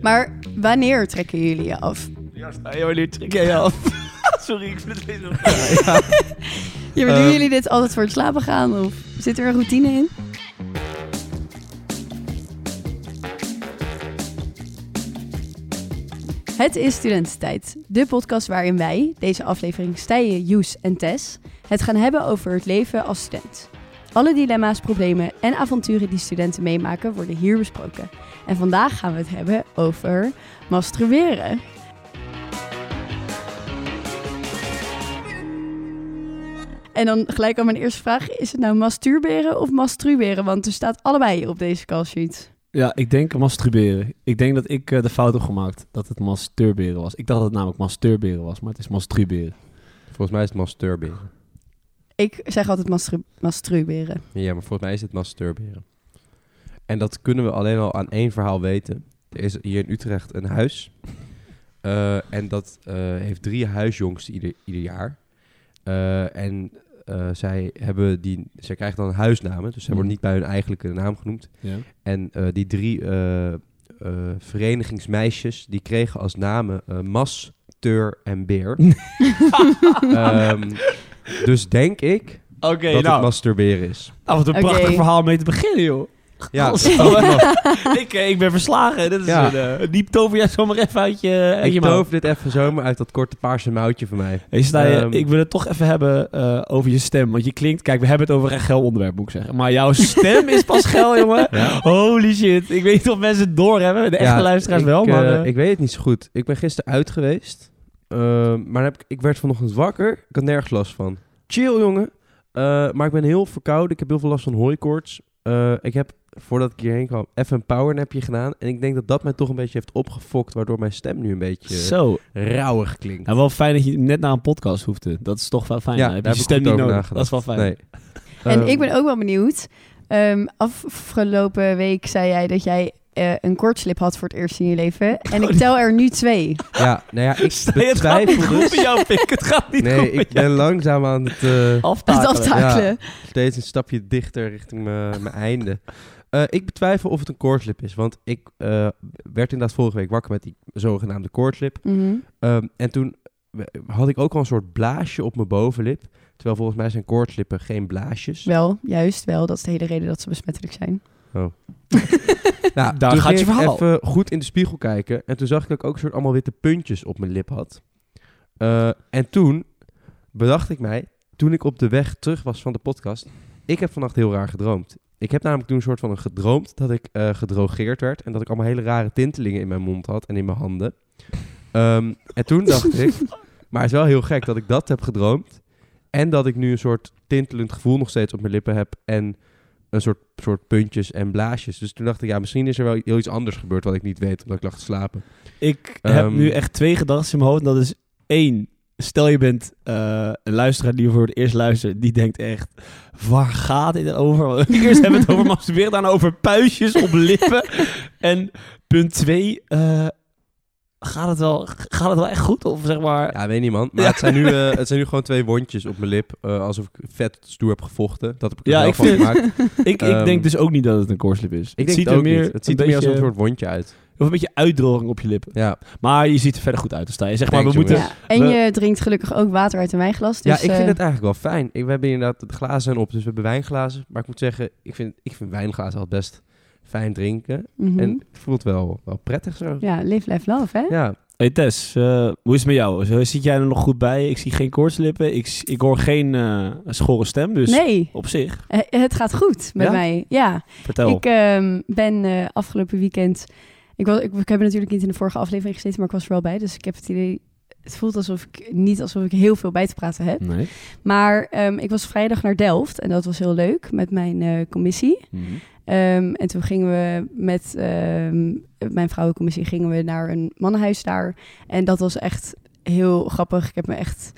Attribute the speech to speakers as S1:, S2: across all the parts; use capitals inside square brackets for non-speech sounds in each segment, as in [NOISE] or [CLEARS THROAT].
S1: Maar wanneer trekken jullie je af?
S2: Ja, jullie trekken je
S3: [LAUGHS]
S2: af. Sorry, ik vind het deze
S1: Ja, maar doen
S2: Eh.
S1: jullie dit altijd voor het slapen gaan? Of zit er een routine in? Het is Studententijd, de podcast waarin wij, deze aflevering Stijen, Joes en Tess, het gaan hebben over het leven als student. Alle dilemma's, problemen en avonturen die studenten meemaken worden hier besproken. En vandaag gaan we het hebben over masturberen. En dan gelijk al mijn eerste vraag. Is het nou masturberen of masturberen? Want er staat allebei op deze callsheet.
S3: Ja, ik denk masturberen. Ik denk dat ik eh, de fout heb gemaakt dat het masturberen was. Ik dacht dat het namelijk masturberen was, maar het is masturberen.
S4: Volgens mij is het masturberen.
S1: Ik zeg altijd mastru- masturberen.
S4: Ja, maar volgens mij is het masturberen. En dat kunnen we alleen al aan één verhaal weten. Er is hier in Utrecht een huis. Eh, en dat eh, heeft drie huisjongsten ieder, ieder jaar. Eh, en eh, zij, hebben die, zij krijgen dan huisnamen. Dus zij worden
S3: Mhm.
S4: niet bij hun eigenlijke naam genoemd.
S3: Ja.
S4: En eh, die drie eh, eh, verenigingsmeisjes, die kregen als namen eh, Mas, Teur en Beer. Ehm, dus denk ik
S2: Oké,
S4: dat het
S2: nou.
S4: masturberen is.
S3: Ah, wat een
S1: Oké.
S3: prachtig verhaal om mee te beginnen, joh. [LAUGHS]
S4: Ja,
S3: Als- [LAUGHS] ik, eh, ik ben verslagen. Dit is
S4: Ja.
S3: een, eh, die tover jij zomaar even uit je, uit je
S4: ik
S3: mouw.
S4: doof dit even zomaar uit dat korte paarse mouwtje van mij.
S3: Hey, Stijn,
S4: Ehm,
S3: ik wil het toch even hebben eh, over je stem. Want je klinkt... Kijk, we hebben het over een geil onderwerp, moet ik zeggen. Maar jouw stem is pas geil, jongen.
S4: Ja.
S3: [LAUGHS] Holy shit. Ik weet niet of mensen het doorhebben. De echte
S4: Ja,
S3: luisteraars
S4: ik,
S3: wel, maar...
S4: eh,
S3: eh, [LAUGHS]
S4: ik weet het niet zo goed. Ik ben gisteren uit geweest. Ehm, maar dan heb ik, ik werd vanochtend wakker. Ik had nergens last van. Chill, jongen. Eh, maar ik ben heel verkouden. Ik heb heel veel last van hooikoorts. Eh, ik heb, voordat ik hierheen kwam, even een powernapje gedaan. En ik denk dat dat mij toch een beetje heeft opgefokt. Waardoor mijn stem nu een beetje
S3: Zo.
S4: rauwig klinkt.
S3: Ja, Nou, wel fijn dat je net naar een podcast hoefde. Dat is toch wel fijn.
S4: Ja,
S3: Dan heb
S4: daar
S3: je
S4: heb ik
S3: stem
S4: goed
S3: niet
S4: over
S3: nodig.
S4: nagedacht.
S3: Dat is wel fijn.
S4: Nee.
S1: en
S4: Ehm,
S1: ik ben ook wel benieuwd. Ehm, afgelopen week zei jij dat jij eh, een kortslip had voor het eerst in je leven. En ik tel er nu
S4: [LAUGHS]
S1: twee.
S4: Ja,
S3: [LAUGHS]
S4: nou ja, ik
S3: Nee, het gaat niet
S4: betwijfel
S3: goed
S4: dus.
S3: met jou, Pik. Het gaat niet
S4: Nee,
S3: goed met
S4: ik ben langzaam aan het... eh,
S3: jou.
S1: Het
S3: Aftakelen.
S1: aftakelen.
S4: steeds een stapje dichter richting mijn mijn einde. Eh, ik betwijfel of het een koortslip is, want ik eh, werd inderdaad vorige week wakker met die zogenaamde koortslip.
S1: Mhm.
S4: Ehm, en toen we- had ik ook al een soort blaasje op mijn bovenlip. Terwijl volgens mij zijn koortslippen geen blaasjes.
S1: Wel, juist wel. Dat is de hele reden dat ze besmettelijk zijn.
S4: Oh.
S1: [LAUGHS]
S4: Nou,
S3: Daar
S4: toen
S3: gaat
S4: ging
S3: je verhaal.
S4: Ik even goed in de spiegel kijken en toen zag ik dat ik ook een soort allemaal witte puntjes op mijn lip had. Eh, en toen bedacht ik mij, toen ik op de weg terug was van de podcast, ik heb vannacht heel raar gedroomd. Ik heb namelijk toen een soort van een gedroomd dat ik eh, gedrogeerd werd en dat ik allemaal hele rare tintelingen in mijn mond had en in mijn handen. Ehm, en toen dacht
S3: [LAUGHS]
S4: ik, maar het is wel heel gek dat ik dat heb gedroomd en dat ik nu een soort tintelend gevoel nog steeds op mijn lippen heb en een soort, soort puntjes en blaasjes. Dus toen dacht ik, ja, misschien is er wel heel iets anders gebeurd wat ik niet weet, omdat ik lag te slapen.
S3: Ik
S4: Ehm,
S3: heb nu echt twee gedachten in mijn hoofd. Dat is één. Stel je bent eh, een luisteraar die voor het eerst luistert. Die denkt echt, waar gaat dit over? Want [LAUGHS] Eerst hebben we het
S4: [LAUGHS]
S3: over masturberen, dan over puistjes op lippen. En punt twee, eh, gaat, het wel, gaat het wel echt goed? Of zeg maar...
S4: Ja, weet niet, man. Maar het, zijn nu, eh, het zijn nu gewoon twee wondjes op mijn lip, eh, alsof ik vet stoer heb gevochten. Dat heb ik er
S3: Ja,
S4: wel
S3: ik
S4: van
S3: vind- [LAUGHS]
S4: gemaakt.
S3: Ik, ik
S4: Ehm,
S3: denk dus ook niet dat het een koorslip is.
S4: Ik denk het,
S3: ziet
S4: ook
S3: er meer,
S4: niet. Het ziet
S3: een
S4: er meer als een
S3: beetje-
S4: soort wondje uit.
S3: Of een beetje uitdroging op je lippen.
S4: Ja,
S3: Maar je ziet er verder goed uit. Dus sta je. Zeg maar, we
S4: Thanks,
S3: moeten.
S4: Dus
S1: ja. En
S3: we-
S1: je drinkt gelukkig ook water uit een wijnglas. Dus,
S4: ja ik
S1: eh,
S4: vind het eigenlijk wel fijn. Ik, we hebben inderdaad, de glazen zijn op, dus we hebben wijnglazen. Maar ik moet zeggen, ik vind, ik vind wijnglazen altijd best fijn drinken.
S1: mhm.
S4: En het voelt wel, wel prettig zo.
S1: Ja, live, laugh, love, hè?
S4: Ja,
S3: Hey Tess, eh, hoe is het met jou? Zo- Zit jij er nog goed bij? Ik zie geen koortslippen. Ik, s- ik hoor geen eh schorre stem. Dus
S1: Nee,
S3: op zich,
S1: eh, het gaat goed met
S3: Ja?
S1: mij. Ja,
S3: vertel.
S1: ik ehm, ben eh, afgelopen weekend... Ik, was, ik, ik heb natuurlijk niet in de vorige aflevering gezeten, maar ik was er wel bij. Dus ik heb het idee... Het voelt alsof ik niet alsof ik heel veel bij te praten heb.
S3: Nee.
S1: Maar ehm, ik was vrijdag naar Delft en dat was heel leuk met mijn eh, commissie.
S3: Mhm.
S1: Ehm, en toen gingen we met ehm, mijn vrouwencommissie gingen we naar een mannenhuis daar. En dat was echt heel grappig. Ik heb me echt.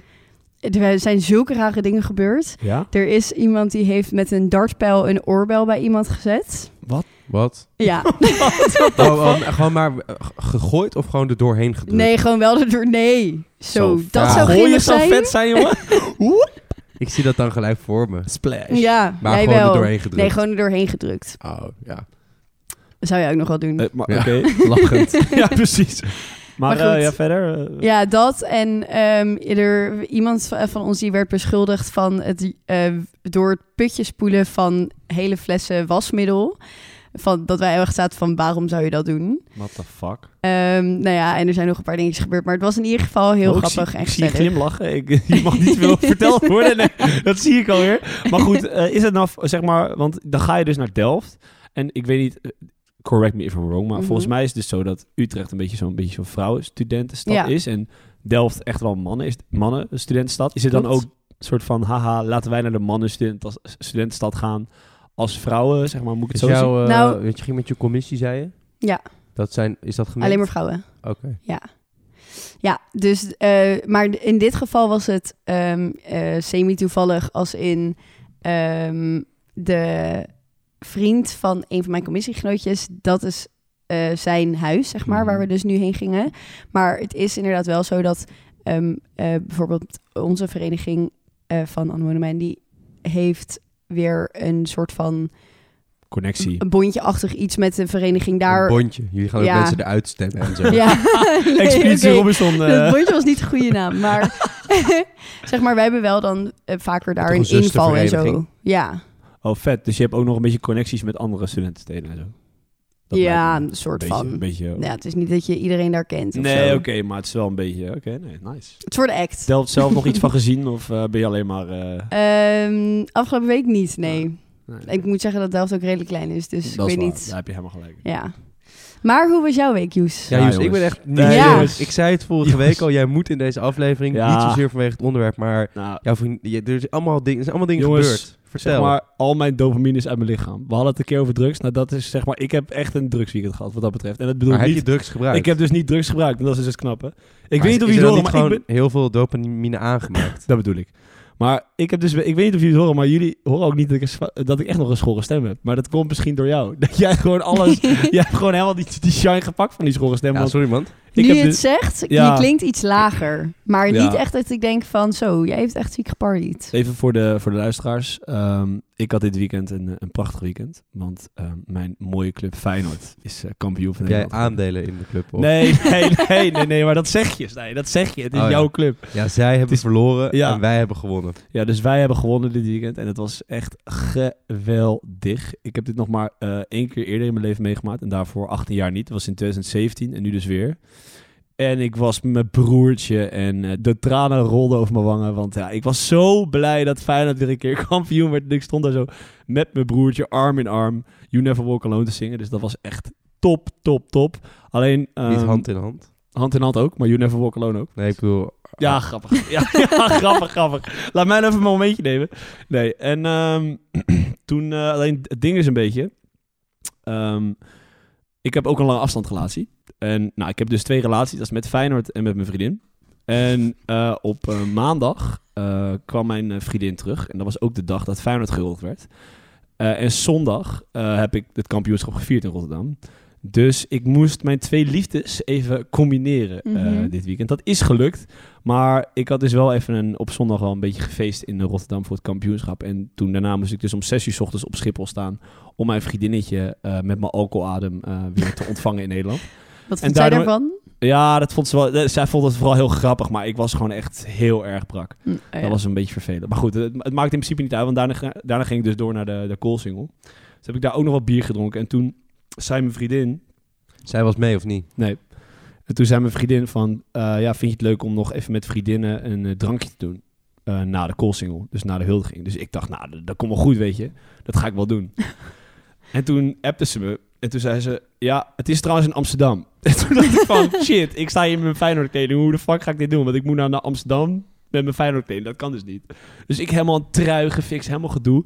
S1: Er zijn zulke rare dingen gebeurd.
S3: Ja?
S1: Er is iemand die heeft met een dartpijl een oorbel bij iemand gezet.
S3: [LAUGHS]
S4: wat?
S1: Ja,
S4: Oh, oh, gewoon maar eh, g- gegooid of gewoon er doorheen gedrukt?
S1: nee, gewoon wel erdoor. Nee, zo.
S4: Zo
S1: dat
S4: vaag.
S1: zou
S3: Gooi je
S1: grimmig
S3: zou
S1: zijn.
S3: vet zijn, jongen.
S4: Ik zie dat dan gelijk voor me.
S3: Splash.
S1: Ja,
S4: Maar
S1: wij
S4: gewoon
S1: wel.
S4: er doorheen gedrukt.
S1: Nee, gewoon er doorheen gedrukt.
S4: Oh, ja.
S1: Dat zou je ook nog wel doen.
S3: Eh, maar
S4: Ja.
S3: oké. [LAUGHS]
S4: Lachend.
S3: ja, precies.
S1: Maar
S3: Maar,
S1: goed.
S3: eh, ja, verder. eh,
S1: Ja, dat. En ehm, ieder, iemand v- van ons die werd beschuldigd van het eh, door het putje spoelen van hele flessen wasmiddel. Van, dat wij heel erg zaten van waarom zou je dat doen?
S3: What the fuck?
S1: Ehm, nou ja, en er zijn nog een paar dingetjes gebeurd. Maar het was in ieder geval heel
S3: Oh, ik
S1: grappig
S3: zie,
S1: en
S3: Ik zie je
S1: gezellig.
S3: glimlachen. Ik, [LAUGHS] je mag niet
S1: [LAUGHS]
S3: veel verteld worden. Nee, dat zie ik alweer. Maar goed, eh, is het nou, zeg maar, want dan ga je dus naar Delft. En ik weet niet, eh, correct me if I'm wrong, maar
S1: Mhm.
S3: volgens mij is het dus zo dat Utrecht een beetje zo'n beetje zo'n vrouwenstudentenstad
S1: Ja.
S3: is. En Delft echt wel mannen, is, mannen een studentenstad. Is het dan
S1: Klopt.
S3: ook een soort van, haha, laten wij naar de mannen student- studentenstad gaan als vrouwen, zeg maar, moet ik het
S4: Is
S3: zo zien?
S4: jouw, eh,
S1: Nou-
S4: want je ging met je commissie, zei je?
S1: Ja.
S4: Dat zijn, is dat gemengd?
S1: Alleen maar vrouwen.
S4: Oké.
S1: Ja. Ja, dus, eh, maar in dit geval was het ehm, eh, semi-toevallig als in ehm, de vriend van een van mijn commissiegenootjes, dat is eh, zijn huis, zeg maar,
S4: Mhm.
S1: waar we dus nu heen gingen. Maar het is inderdaad wel zo dat ehm, eh, bijvoorbeeld onze vereniging eh, van Anne Monument, die heeft weer een soort van
S3: Connectie.
S1: een bondje-achtig iets met de vereniging daar.
S4: Een bondje. Jullie gaan ook
S1: Ja.
S4: mensen eruit stemmen en zo. [LAUGHS]
S1: Ja, [LAUGHS] [LAUGHS] Nee,
S3: Expeditie
S1: oké.
S3: Robinson. eh,
S1: Dat bondje was niet de goede naam, maar [LAUGHS] zeg maar, wij hebben wel dan eh, vaker daar
S4: Toch
S1: een
S4: een
S1: inval en zo.
S4: zustervereniging?
S1: Ja,
S3: Oh, vet. Dus je hebt ook nog een beetje connecties met andere studentensteden en zo.
S1: ja
S3: lijkt me
S1: een soort
S3: beetje-
S1: van.
S3: Een beetje,
S1: Ja, het is niet dat je iedereen daar kent. Of
S3: nee,
S1: zo.
S3: oké, maar het is wel een beetje... Oké, nee, nice.
S1: Het wordt act.
S3: Delft zelf nog
S1: [LAUGHS]
S3: iets van gezien of eh, ben je alleen maar... eh,
S1: Ehm, afgelopen week niet, nee.
S3: nee.
S1: Ik moet zeggen dat Delft ook redelijk klein is, dus
S3: Dat
S1: ik
S3: is
S1: weet
S3: waar.
S1: niet.
S3: Daar heb je helemaal gelijk.
S1: Ja. Maar hoe was jouw week, Joes?
S4: Ja,
S3: Ja,
S4: Joes, ik
S3: jongens.
S4: ben echt niet...
S3: Nee,
S1: Ja.
S3: jongens.
S4: Ik zei het vorige
S3: Jongens.
S4: week al, jij moet in deze aflevering,
S3: Ja.
S4: niet zozeer vanwege het onderwerp, maar
S3: Nou,
S4: jouw vriend, je- er, is allemaal ding, er zijn allemaal dingen
S3: Jongens,
S4: gebeurd. Vertel.
S3: zeg maar, al mijn dopamine is uit mijn lichaam. We hadden het een keer over drugs. Nou, dat is zeg maar... Ik heb echt een drugsweekend gehad, wat dat betreft. En dat bedoel
S4: maar
S3: ik
S4: heb je
S3: niet...
S4: drugs gebruikt?
S3: Ik heb dus niet drugs gebruikt. En dat is dus knap, hè? Ik
S4: Maar
S3: weet niet
S4: is-
S3: of jullie
S4: is er
S3: het horen, maar
S4: dan niet gewoon
S3: ik ben...
S4: heel veel dopamine
S3: [LAUGHS]
S4: aangemaakt.
S3: Dat bedoel ik. Maar ik heb dus, ik weet niet of jullie het horen, maar jullie horen ook niet dat ik, een sva- dat ik echt nog een schorre stem heb. Maar dat komt misschien door jou. [LAUGHS] Dat jij gewoon
S4: [LAUGHS]
S3: alles, jij hebt gewoon helemaal die, die shine gepakt van die schorre stem.
S4: Ja,
S3: want
S4: sorry man.
S3: ik
S1: nu
S3: heb
S1: je het
S3: dus,
S1: zegt,
S3: Ja.
S1: je klinkt iets lager. Maar
S3: Ja.
S1: niet echt dat ik denk van, zo, jij heeft echt ziek gepartied.
S3: even voor de, voor de luisteraars, ehm, ik had dit weekend een, een prachtig weekend. Want ehm, mijn mooie club Feyenoord is eh, kampioen van
S4: Heb jij
S3: Nederland.
S4: aandelen in de club?
S3: [LAUGHS]
S4: Of?
S3: Nee, nee, nee, nee, nee, maar dat zeg je. Nee, dat zeg je. Het is
S4: Oh, ja.
S3: jouw club.
S4: Ja, zij hebben
S3: is-
S4: verloren
S3: Ja.
S4: en wij hebben gewonnen.
S3: Ja, dus wij hebben gewonnen dit weekend en het was echt geweldig. Ik heb dit nog maar eh, één keer eerder in mijn leven meegemaakt en daarvoor 18 jaar niet. Dat was in 2017 en nu dus weer. En ik was met mijn broertje en eh, de tranen rolden over mijn wangen. Want ja, ik was zo blij dat Feyenoord weer een keer [LAUGHS] kampioen werd. En ik stond daar zo met mijn broertje arm in arm You Never Walk Alone te zingen. Dus dat was echt top, top, top. Alleen
S4: Niet
S3: ehm,
S4: hand in hand.
S3: hand in hand ook, maar You Never Walk Alone ook.
S4: Nee, ik bedoel...
S3: Ja, grappig. Ja, [LAUGHS] ja, grappig, grappig. Laat mij nou even een momentje nemen. Nee, en ehm, [CLEARS THROAT] toen... eh, alleen het ding is een beetje... ehm, ik heb ook een lange afstandrelatie. En nou, ik heb dus twee relaties. Dat is met Feyenoord en met mijn vriendin. En eh, op eh, maandag eh, kwam mijn eh, vriendin terug. En dat was ook de dag dat Feyenoord gehuldigd werd. Eh, en zondag eh, heb ik het kampioenschap gevierd in Rotterdam. Dus ik moest mijn twee liefdes even combineren eh,
S1: Mhm.
S3: dit weekend. Dat is gelukt. Maar ik had dus wel even een, op zondag wel een beetje gefeest in eh, Rotterdam voor het kampioenschap. En toen daarna moest ik dus om 6 uur 's ochtends op Schiphol staan. om mijn vriendinnetje eh, met mijn alcoholadem eh, weer te ontvangen in Nederland.
S1: Wat
S3: En
S1: vond jij
S3: daardoor-
S1: daarvan?
S3: Ja, dat vond ze wel. eh, Zij vond het vooral heel grappig, maar ik was gewoon echt heel erg brak.
S1: Hm, oh ja.
S3: Dat was een beetje vervelend. Maar goed, het, het maakt in principe niet uit, want daarna, ga- daarna ging ik dus door naar de, de koolsingel. Dus heb ik daar ook nog wat bier gedronken. En toen zei mijn vriendin,
S4: Zij was mee of niet?
S3: en toen zei mijn vriendin van, eh, ja, vind je het leuk om nog even met vriendinnen een eh, drankje te doen? Eh, na de koolsingel, dus na de huldiging. Dus ik dacht, nou, dat, dat komt wel goed, weet je. Dat ga ik wel doen. en toen appte ze me. En toen zei ze, ja, het is trouwens in Amsterdam. [LAUGHS] En toen dacht ik van, shit, ik sta hier met mijn Feyenoord kleding. Hoe de fuck ga ik dit doen? Want ik moet nou naar Amsterdam met mijn Feyenoord kleding. Dat kan dus niet. Dus ik helemaal een trui gefixt, helemaal gedoe.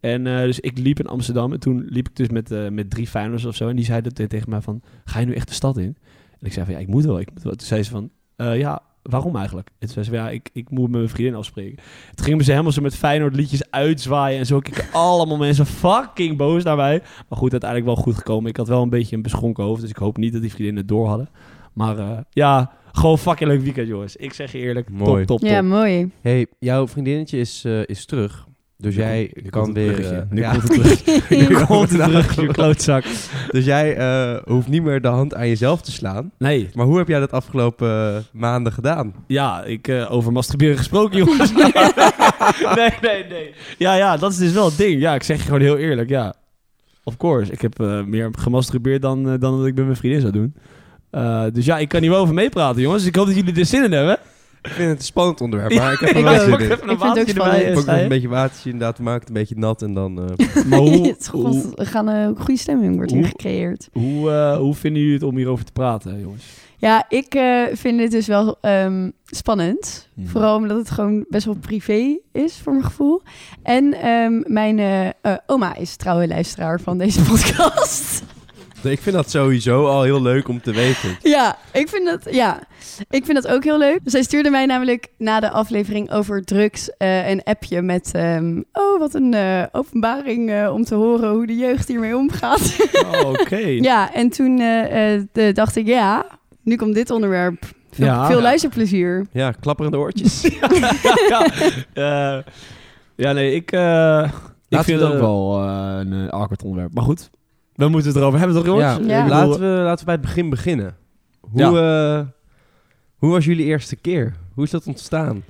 S3: En eh, dus ik liep in Amsterdam. En toen liep ik dus met, eh, met drie Feyenoorders of zo. En die zeiden te- tegen mij van, ga je nu echt de stad in? En ik zei van, ja, ik moet wel. Ik moet wel. Toen zei ze van, eh, ja, waarom eigenlijk? En toen zei ze van, ja, ik, ik moet met mijn vriendin afspreken. Toen gingen ze helemaal zo met Feyenoord liedjes uitzwaaien. En zo keken allemaal mensen fucking boos daarbij. Maar goed, uiteindelijk wel goed gekomen. Ik had wel een beetje een beschonken hoofd. Dus ik hoop niet dat die vriendinnen het door hadden. Maar eh, ja, gewoon fucking leuk weekend, jongens. Ik zeg je eerlijk,
S4: Mooi.
S3: top, top, top.
S1: ja, mooi.
S4: hey, jouw vriendinnetje is, eh, is terug. Dus jij
S3: Nu komt
S4: kan
S3: het
S4: weer...
S3: bruggetje.
S4: eh,
S3: Nu
S4: ja.
S3: komt het
S4: [LAUGHS]
S3: bruggetje. Nu komt het bruggetje, je klootzak.
S4: Dus jij eh, hoeft niet meer de hand aan jezelf te slaan.
S3: Nee,
S4: Maar hoe heb jij dat afgelopen eh, maanden gedaan?
S3: ja, ik eh, over masturberen gesproken,
S1: [LAUGHS]
S3: jongens. nee, nee, nee. Ja, ja, dat is dus wel het ding. Ja, ik zeg je gewoon heel eerlijk, ja. Of course, ik heb eh, meer gemasturbeerd dan, eh, dan dat ik met mijn vriendin zou doen. Eh, dus ja, ik kan hier wel over meepraten, jongens. Ik hoop dat jullie er zin in hebben.
S4: Ik vind het een spannend onderwerp, maar ik heb er
S3: Ik
S4: wel
S3: wil
S4: zin
S3: ook
S4: in.
S3: even een
S1: Ik vind het ook
S3: watertje erbij, [LAUGHS]
S1: spannend.
S3: eh,
S4: Pak nog
S3: sta
S4: een
S3: je?
S4: beetje watertje inderdaad, maak het een beetje nat en dan... eh,
S1: [LAUGHS]
S3: Maar hoe,
S1: Het is
S3: hoe,
S1: gewoon- we gaan eh, een goede stemming wordt hier
S3: Hoe-
S1: gecreëerd.
S3: Hoe, eh, hoe vinden jullie het om hierover te praten, jongens?
S1: Ja, ik eh, vind dit dus wel ehm, spannend.
S3: Ja.
S1: Vooral omdat het gewoon best wel privé is, voor mijn gevoel. En ehm, mijn eh, eh, oma is trouwe luisteraar van deze [LAUGHS] podcast.
S4: eh, [LAUGHS] ik vind dat sowieso al heel leuk om te weten.
S1: ja, ik vind dat, ja, ik vind dat ook heel leuk. Zij stuurde mij namelijk na de aflevering over drugs eh, een appje met... ehm, oh, wat een eh, openbaring eh, om te horen hoe de jeugd hiermee omgaat.
S3: Oh, Oké.
S1: [LAUGHS] Ja, en toen eh, eh, de- dacht ik, ja, nu komt dit onderwerp. Veel,
S3: Ja.
S1: veel
S3: Ja.
S1: luisterplezier.
S4: Ja, klapperende
S3: [LAUGHS]
S4: oortjes.
S1: [LAUGHS]
S3: ja, eh, ja, nee, ik, eh, ik
S4: Laten
S3: vind
S4: we-
S3: het ook wel eh, een eh, awkward onderwerp. Maar goed, we moeten het erover hebben, toch jongens?
S4: Ja,
S3: Ik
S1: Ja.
S3: bedoel,
S4: Laten, we, laten we bij het begin beginnen. Hoe, eh, hoe was jullie eerste keer? Hoe is dat ontstaan?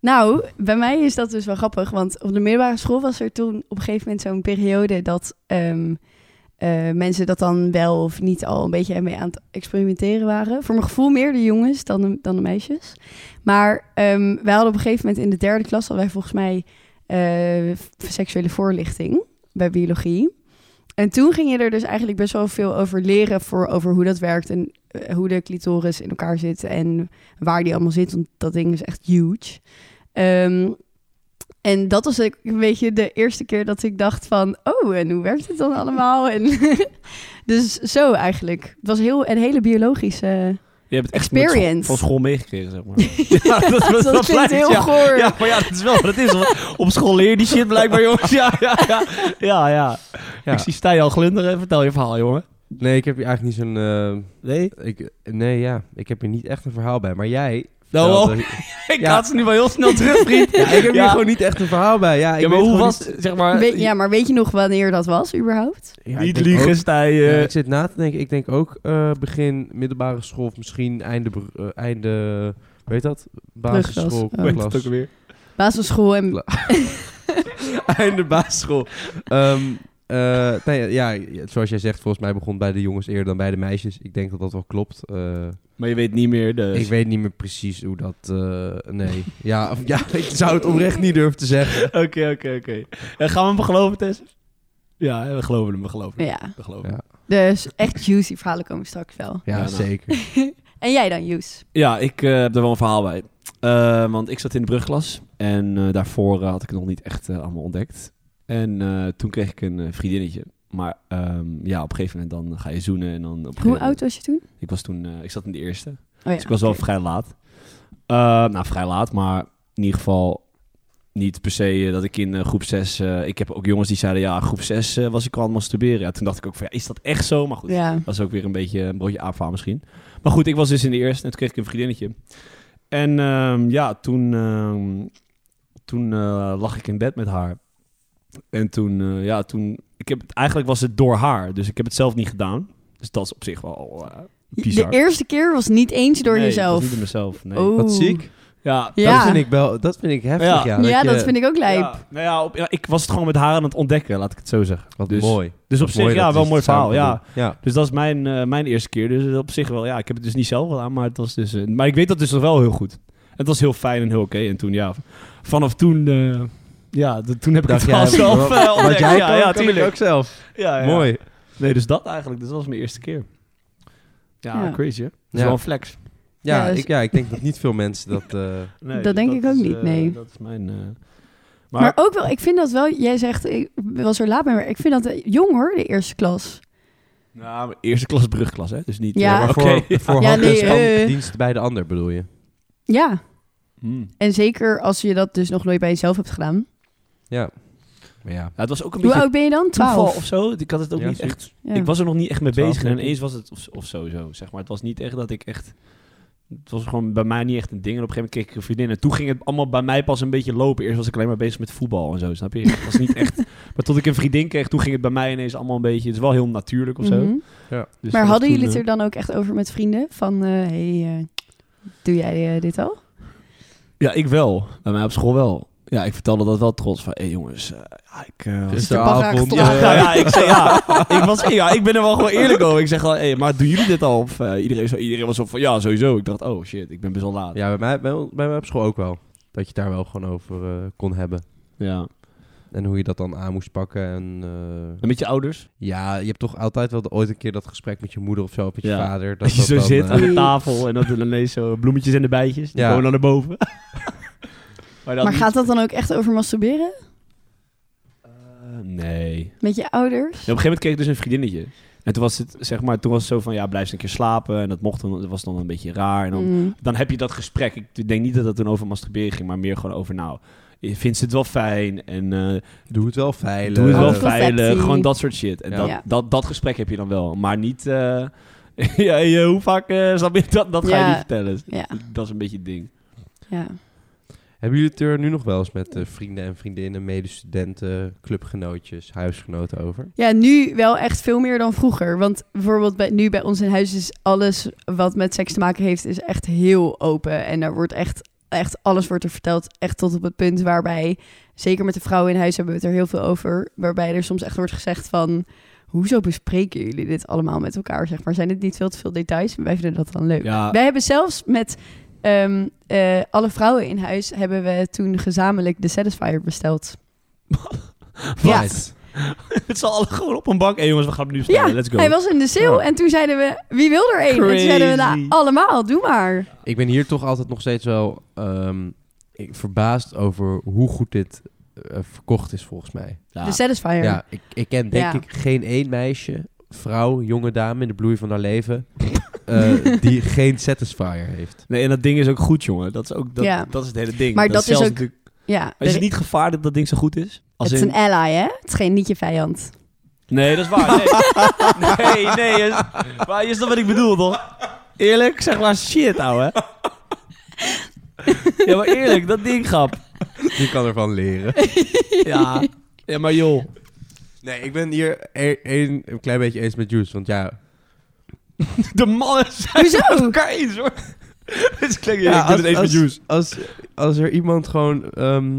S1: Nou, bij mij is dat dus wel grappig, want op de middelbare school was er toen op een gegeven moment zo'n periode dat ehm, eh, mensen dat dan wel of niet al een beetje mee aan het experimenteren waren. Voor mijn gevoel meer de jongens dan de, dan de meisjes. Maar ehm, wij hadden op een gegeven moment in de derde klas, hadden wij volgens mij eh, f- seksuele voorlichting bij biologie. En toen ging je er dus eigenlijk best wel veel over leren voor, over hoe dat werkt en eh, hoe de clitoris in elkaar zit en waar die allemaal zit, want dat ding is echt huge. Ehm, en dat was ook een beetje de eerste keer dat ik dacht van... oh, en hoe werkt het dan allemaal? En [LAUGHS] dus zo eigenlijk. Het was heel, een hele biologische...
S3: Je hebt het echt
S1: Experience.
S3: met scho-
S1: [LAUGHS]
S3: van school meegekregen, zeg maar. ja, dat,
S1: dat klinkt heel
S3: ja.
S1: goor.
S3: Ja, maar ja, dat is wel wat het is. want Op school leer je die shit blijkbaar, jongens. Ja, ja, ja. ja, ja.
S4: Ja.
S3: Ik zie Stijn al glunderen. Vertel je verhaal, jongen.
S4: Nee, ik heb hier eigenlijk niet zo'n... eh,
S3: Nee?
S4: ik, nee, ja, ik heb hier niet echt een verhaal bij. Maar jij...
S3: Nou,
S4: vertelde-
S3: ik
S4: Ja.
S3: haat ze nu wel heel snel terug, vriend.
S4: [LAUGHS] Ja, ik heb
S3: Ja.
S4: hier gewoon niet echt een verhaal bij. Ja, ik
S3: Ja, maar
S4: weet
S3: hoe
S4: gewoon
S3: was
S4: niet-
S3: het, zeg maar...
S1: Weet- ja, maar weet je nog wanneer dat was überhaupt?
S4: Ja, ik
S3: niet
S4: denk
S3: liegen,
S4: ook-
S3: Stijn.
S4: ja,
S3: eh.
S4: ik zit na te denken. Ik denk ook eh, begin middelbare school of misschien einde... br- eh, einde weet dat? Basisschool.
S1: Brugklas,
S3: Hoe heet
S4: klas.
S3: het ook weer?
S1: Basisschool en...
S4: Einde [LAUGHS] basisschool. Ehm, eh, nee, ja, zoals jij zegt, volgens mij begon bij de jongens eerder dan bij de meisjes. Ik denk dat dat wel klopt. Eh,
S3: Maar je weet niet meer, dus...
S4: Ik weet niet meer precies hoe dat... eh, nee. ja, of- ja, [LAUGHS] ik zou het oprecht niet durven te zeggen.
S3: Oké, oké, oké. En gaan we hem geloven, Tess? Ja, we geloven hem, we geloven hem.
S1: Ja,
S3: We geloven hem.
S4: Ja.
S1: dus echt juicy verhalen komen straks wel.
S4: Ja,
S3: Ja, nou.
S4: zeker.
S1: En jij dan, Joes?
S3: Ja, ik eh, heb daar wel een verhaal bij. Eh, want ik zat in de brugklas en eh, daarvoor eh, had ik het nog niet echt eh, allemaal ontdekt. En eh, toen kreeg ik een eh, vriendinnetje. Maar ehm, ja, op een gegeven moment dan ga je zoenen en dan... Op een gegeven
S1: Hoe
S3: moment-
S1: oud was je toen?
S3: Ik was toen, eh, ik zat in de eerste.
S1: Oh, ja.
S3: Eh, Dus ik was wel vrij laat. Eh, nou, vrij laat, maar in ieder geval niet per se eh, dat ik in eh, groep 6... eh, ik heb ook jongens die zeiden, ja, groep 6 eh, was ik al aan het masturberen. Ja, toen dacht ik ook van, ja, is dat echt zo? Maar goed,
S1: Ja.
S3: dat is ook weer een beetje een broodje aapvaal misschien. Maar goed, ik was dus in de eerste en toen kreeg ik een vriendinnetje. En ehm, ja, toen, ehm, toen eh, lag ik in bed met haar. En toen, eh, ja, toen... Ik heb, het- eigenlijk was het door haar, dus ik heb het zelf niet gedaan. Dus dat is op zich wel eh, bizar.
S1: De eerste keer was niet eens door
S3: Nee, het was
S1: jezelf.
S3: niet door mezelf, nee.
S1: Oh.
S4: Wat ziek.
S3: Ja,
S1: Ja.
S4: Dat vind ik wel... Dat vind ik heftig, ja.
S3: Ja.
S1: Ja,
S4: je-
S1: dat vind ik ook lijp.
S3: Ja, nou ja, op- ja, ik was het gewoon met haar aan het ontdekken, laat ik het zo zeggen.
S4: Wat
S3: dus,
S4: mooi.
S3: Dus op
S4: Wat
S3: zich,
S4: mooi
S3: ja,
S4: dat
S3: wel
S4: we
S3: een mooi
S4: het samen
S3: verhaal. Ja.
S4: doen. Ja.
S3: Dus dat is mijn, eh, mijn eerste keer. Dus op zich wel, ja, ik heb het dus niet zelf gedaan, maar het was dus... eh, maar ik weet dat dus nog wel heel goed. Het was heel fijn en heel oké. En toen, ja, v- vanaf toen... eh, ja, d- toen heb ik
S4: Dacht
S3: het
S4: jij,
S3: wel zelf
S4: wat-
S3: eh,
S4: Wat
S3: ontdekt.
S4: jij
S3: ja,
S4: kan,
S3: ja,
S4: kan ik
S3: tuurlijk.
S4: ook zelf.
S3: Ja, ja.
S4: Mooi.
S3: Nee, dus dat eigenlijk. Dus dat was mijn eerste keer. Ja,
S1: Ja.
S3: crazy, hè? Dat is
S4: Ja.
S3: wel een flex.
S4: Ja,
S1: Ja, dus-
S4: ik, ja, ik denk dat niet veel mensen dat... eh,
S3: Nee,
S1: Dat
S3: dus
S1: denk ik ook
S3: is,
S1: niet,
S3: eh,
S1: nee.
S3: Dat is mijn... eh,
S1: Maar, ook wel, ik vind dat wel, jij zegt, ik was er laat bij, maar ik vind dat eh, jong hoor, de eerste klas.
S3: Nou, maar eerste klas brugklas, hè? Dus niet...
S1: Ja.
S3: eh,
S4: maar
S3: oké.
S4: voor, voor
S1: Ja,
S4: hand- en
S1: nee,
S4: stand-
S1: eh.
S4: dienst bij de ander bedoel je?
S1: Ja,
S3: Hmm.
S1: en zeker als je dat dus nog nooit bij jezelf hebt gedaan.
S4: Ja. Maar ja.
S3: Ja, het was ook een
S1: Hoe
S3: beetje
S1: oud ben je dan?
S3: toeval of
S1: Twaalf.
S3: zo. Ik had het ook
S4: Ja,
S3: niet
S4: zoiets.
S3: echt...
S1: Ja.
S3: Ik was er nog niet echt mee
S4: Twaalf,
S3: bezig en
S4: denk ik.
S3: ineens was het of, of zo, zo, zeg maar. Het was niet echt dat ik echt... het was gewoon bij mij niet echt een ding. En op een gegeven moment kreeg ik een vriendin. En toen ging het allemaal bij mij pas een beetje lopen. Eerst was ik alleen maar bezig met voetbal en zo, snap je? Het was niet
S1: [LAUGHS]
S3: echt... Maar tot ik een vriendin kreeg, toen ging het bij mij ineens allemaal een beetje... Het is wel heel natuurlijk of zo.
S1: Mhm.
S3: Dus
S1: Maar
S3: vanaf
S1: hadden
S3: toen,
S1: jullie het
S3: eh,
S1: er dan ook echt over met vrienden? Van, eh, hey, eh, doe jij eh, dit al?
S3: Ja, ik wel. Bij mij op school wel. Ja, ik vertelde dat wel trots. Van, hé jongens, eh, ja, ik... eh, was-
S4: Gisteravond.
S1: Gisteravond,
S3: ja,
S4: eh,
S3: nou ja, ik zei [LAUGHS] ja. Ik, was, ja, ik ben er wel gewoon eerlijk over. Ik zeg gewoon, hé, maar doen jullie dit al? Of, eh, iedereen, zo, iedereen was zo van, ja, sowieso. Ik dacht, oh shit, ik ben best wel laat.
S4: [LAUGHS] Ja, bij mij, bij, bij mij op school ook wel. Dat je het daar wel gewoon over eh, kon hebben.
S3: Ja.
S4: En hoe je dat dan aan moest pakken. En, eh,
S3: En met je ouders?
S4: ja, je hebt toch altijd wel ooit een keer dat gesprek met je moeder of zo, of met je
S3: Ja.
S4: [LAUGHS] vader.
S3: [LAUGHS] Dat, je zo
S4: dan,
S3: zit
S4: eh,
S3: aan de tafel en dat er ineens zo bloemetjes en de bijtjes. Die
S4: Ja.
S3: gewoon naar [LAUGHS] boven. maar dan
S1: Maar gaat dat dan ook echt over masturberen?
S3: Eh, nee.
S1: Met je ouders?
S3: En op een gegeven moment kreeg ik dus een vriendinnetje. En toen was het, zeg maar, toen was het zo van, ja, blijf eens een keer slapen. En dat mocht dan, dat was dan een beetje raar. En dan,
S1: Mm.
S3: dan heb je dat gesprek. Ik denk niet dat het toen over masturberen ging, maar meer gewoon over, nou, vindt ze het wel fijn? En eh,
S4: Doe het wel veilig. Eh,
S3: Doe het wel
S1: Anticonceptie.
S3: veilig. Gewoon dat soort shit. En
S4: Ja.
S3: dat,
S1: Ja.
S3: dat, dat gesprek heb je dan wel. Maar niet... eh, [LAUGHS] ja, je- hoe vaak... eh, snap je, dat, dat ga je
S1: Ja.
S3: niet vertellen.
S1: Ja,
S3: Dat is een beetje het ding.
S1: ja.
S4: Hebben jullie het er nu nog wel eens met eh, vrienden en vriendinnen, medestudenten, clubgenootjes, huisgenoten over?
S1: ja, nu wel echt veel meer dan vroeger. Want bijvoorbeeld bij, nu bij ons in huis is alles wat met seks te maken heeft, is echt heel open. En er wordt echt, echt alles wordt er verteld. Echt tot op het punt waarbij, zeker met de vrouwen in huis hebben we het er heel veel over. Waarbij er soms echt wordt gezegd van, hoezo bespreken jullie dit allemaal met elkaar? Zeg maar, zijn dit niet veel te veel details? Wij vinden dat dan leuk.
S3: Ja,
S1: Wij hebben zelfs met ehm, eh, alle vrouwen in huis hebben we toen gezamenlijk de Satisfier besteld. ja.
S4: Nice.
S3: het zal alle gewoon op een bank. Hé jongens, we gaan nu spelen.
S1: Ja,
S3: Let's go.
S1: hij was in de sale
S3: Ja.
S1: en toen zeiden we, wie wil er één? En toen zeiden we, nou,
S3: Crazy.
S1: allemaal, doe maar.
S4: Ik ben hier toch altijd nog steeds wel ehm, ik, verbaasd over hoe goed dit eh, verkocht is volgens mij.
S3: Ja.
S1: De Satisfier.
S4: Ja, ik, ik ken denk
S1: Ja.
S4: ik geen één meisje, vrouw, jonge dame in de bloei van haar leven, [LAUGHS] eh, die geen satisfier heeft.
S3: Nee, en dat ding is ook goed, jongen. Dat is, ook, dat,
S1: Ja.
S3: dat is het hele ding.
S1: Maar dat is
S3: zelfs
S1: ook-
S3: natuurlijk-
S1: Ja,
S3: Is
S1: er-
S3: het niet gevaar dat dat ding zo goed is? Als
S1: het is
S3: in-
S1: een ally, hè? Het is geen niet je vijand.
S3: Nee, dat is waar. Nee, [LAUGHS] nee. nee is, maar je snapt wat ik bedoel, toch? Eerlijk, zeg maar shit, [LAUGHS] ouwe. Ja, maar eerlijk, dat ding, grap.
S4: Die kan ervan leren.
S3: Ja. ja, maar joh.
S4: Nee, ik ben hier e- een, een klein beetje eens met Juice, want ja...
S3: De mannen zijn
S1: Hoezo?
S3: elkaar eens, hoor. Dit klinkt, ja,
S4: Ja,
S3: ik doe het eens met Jules.
S4: Als, als er iemand gewoon ehm,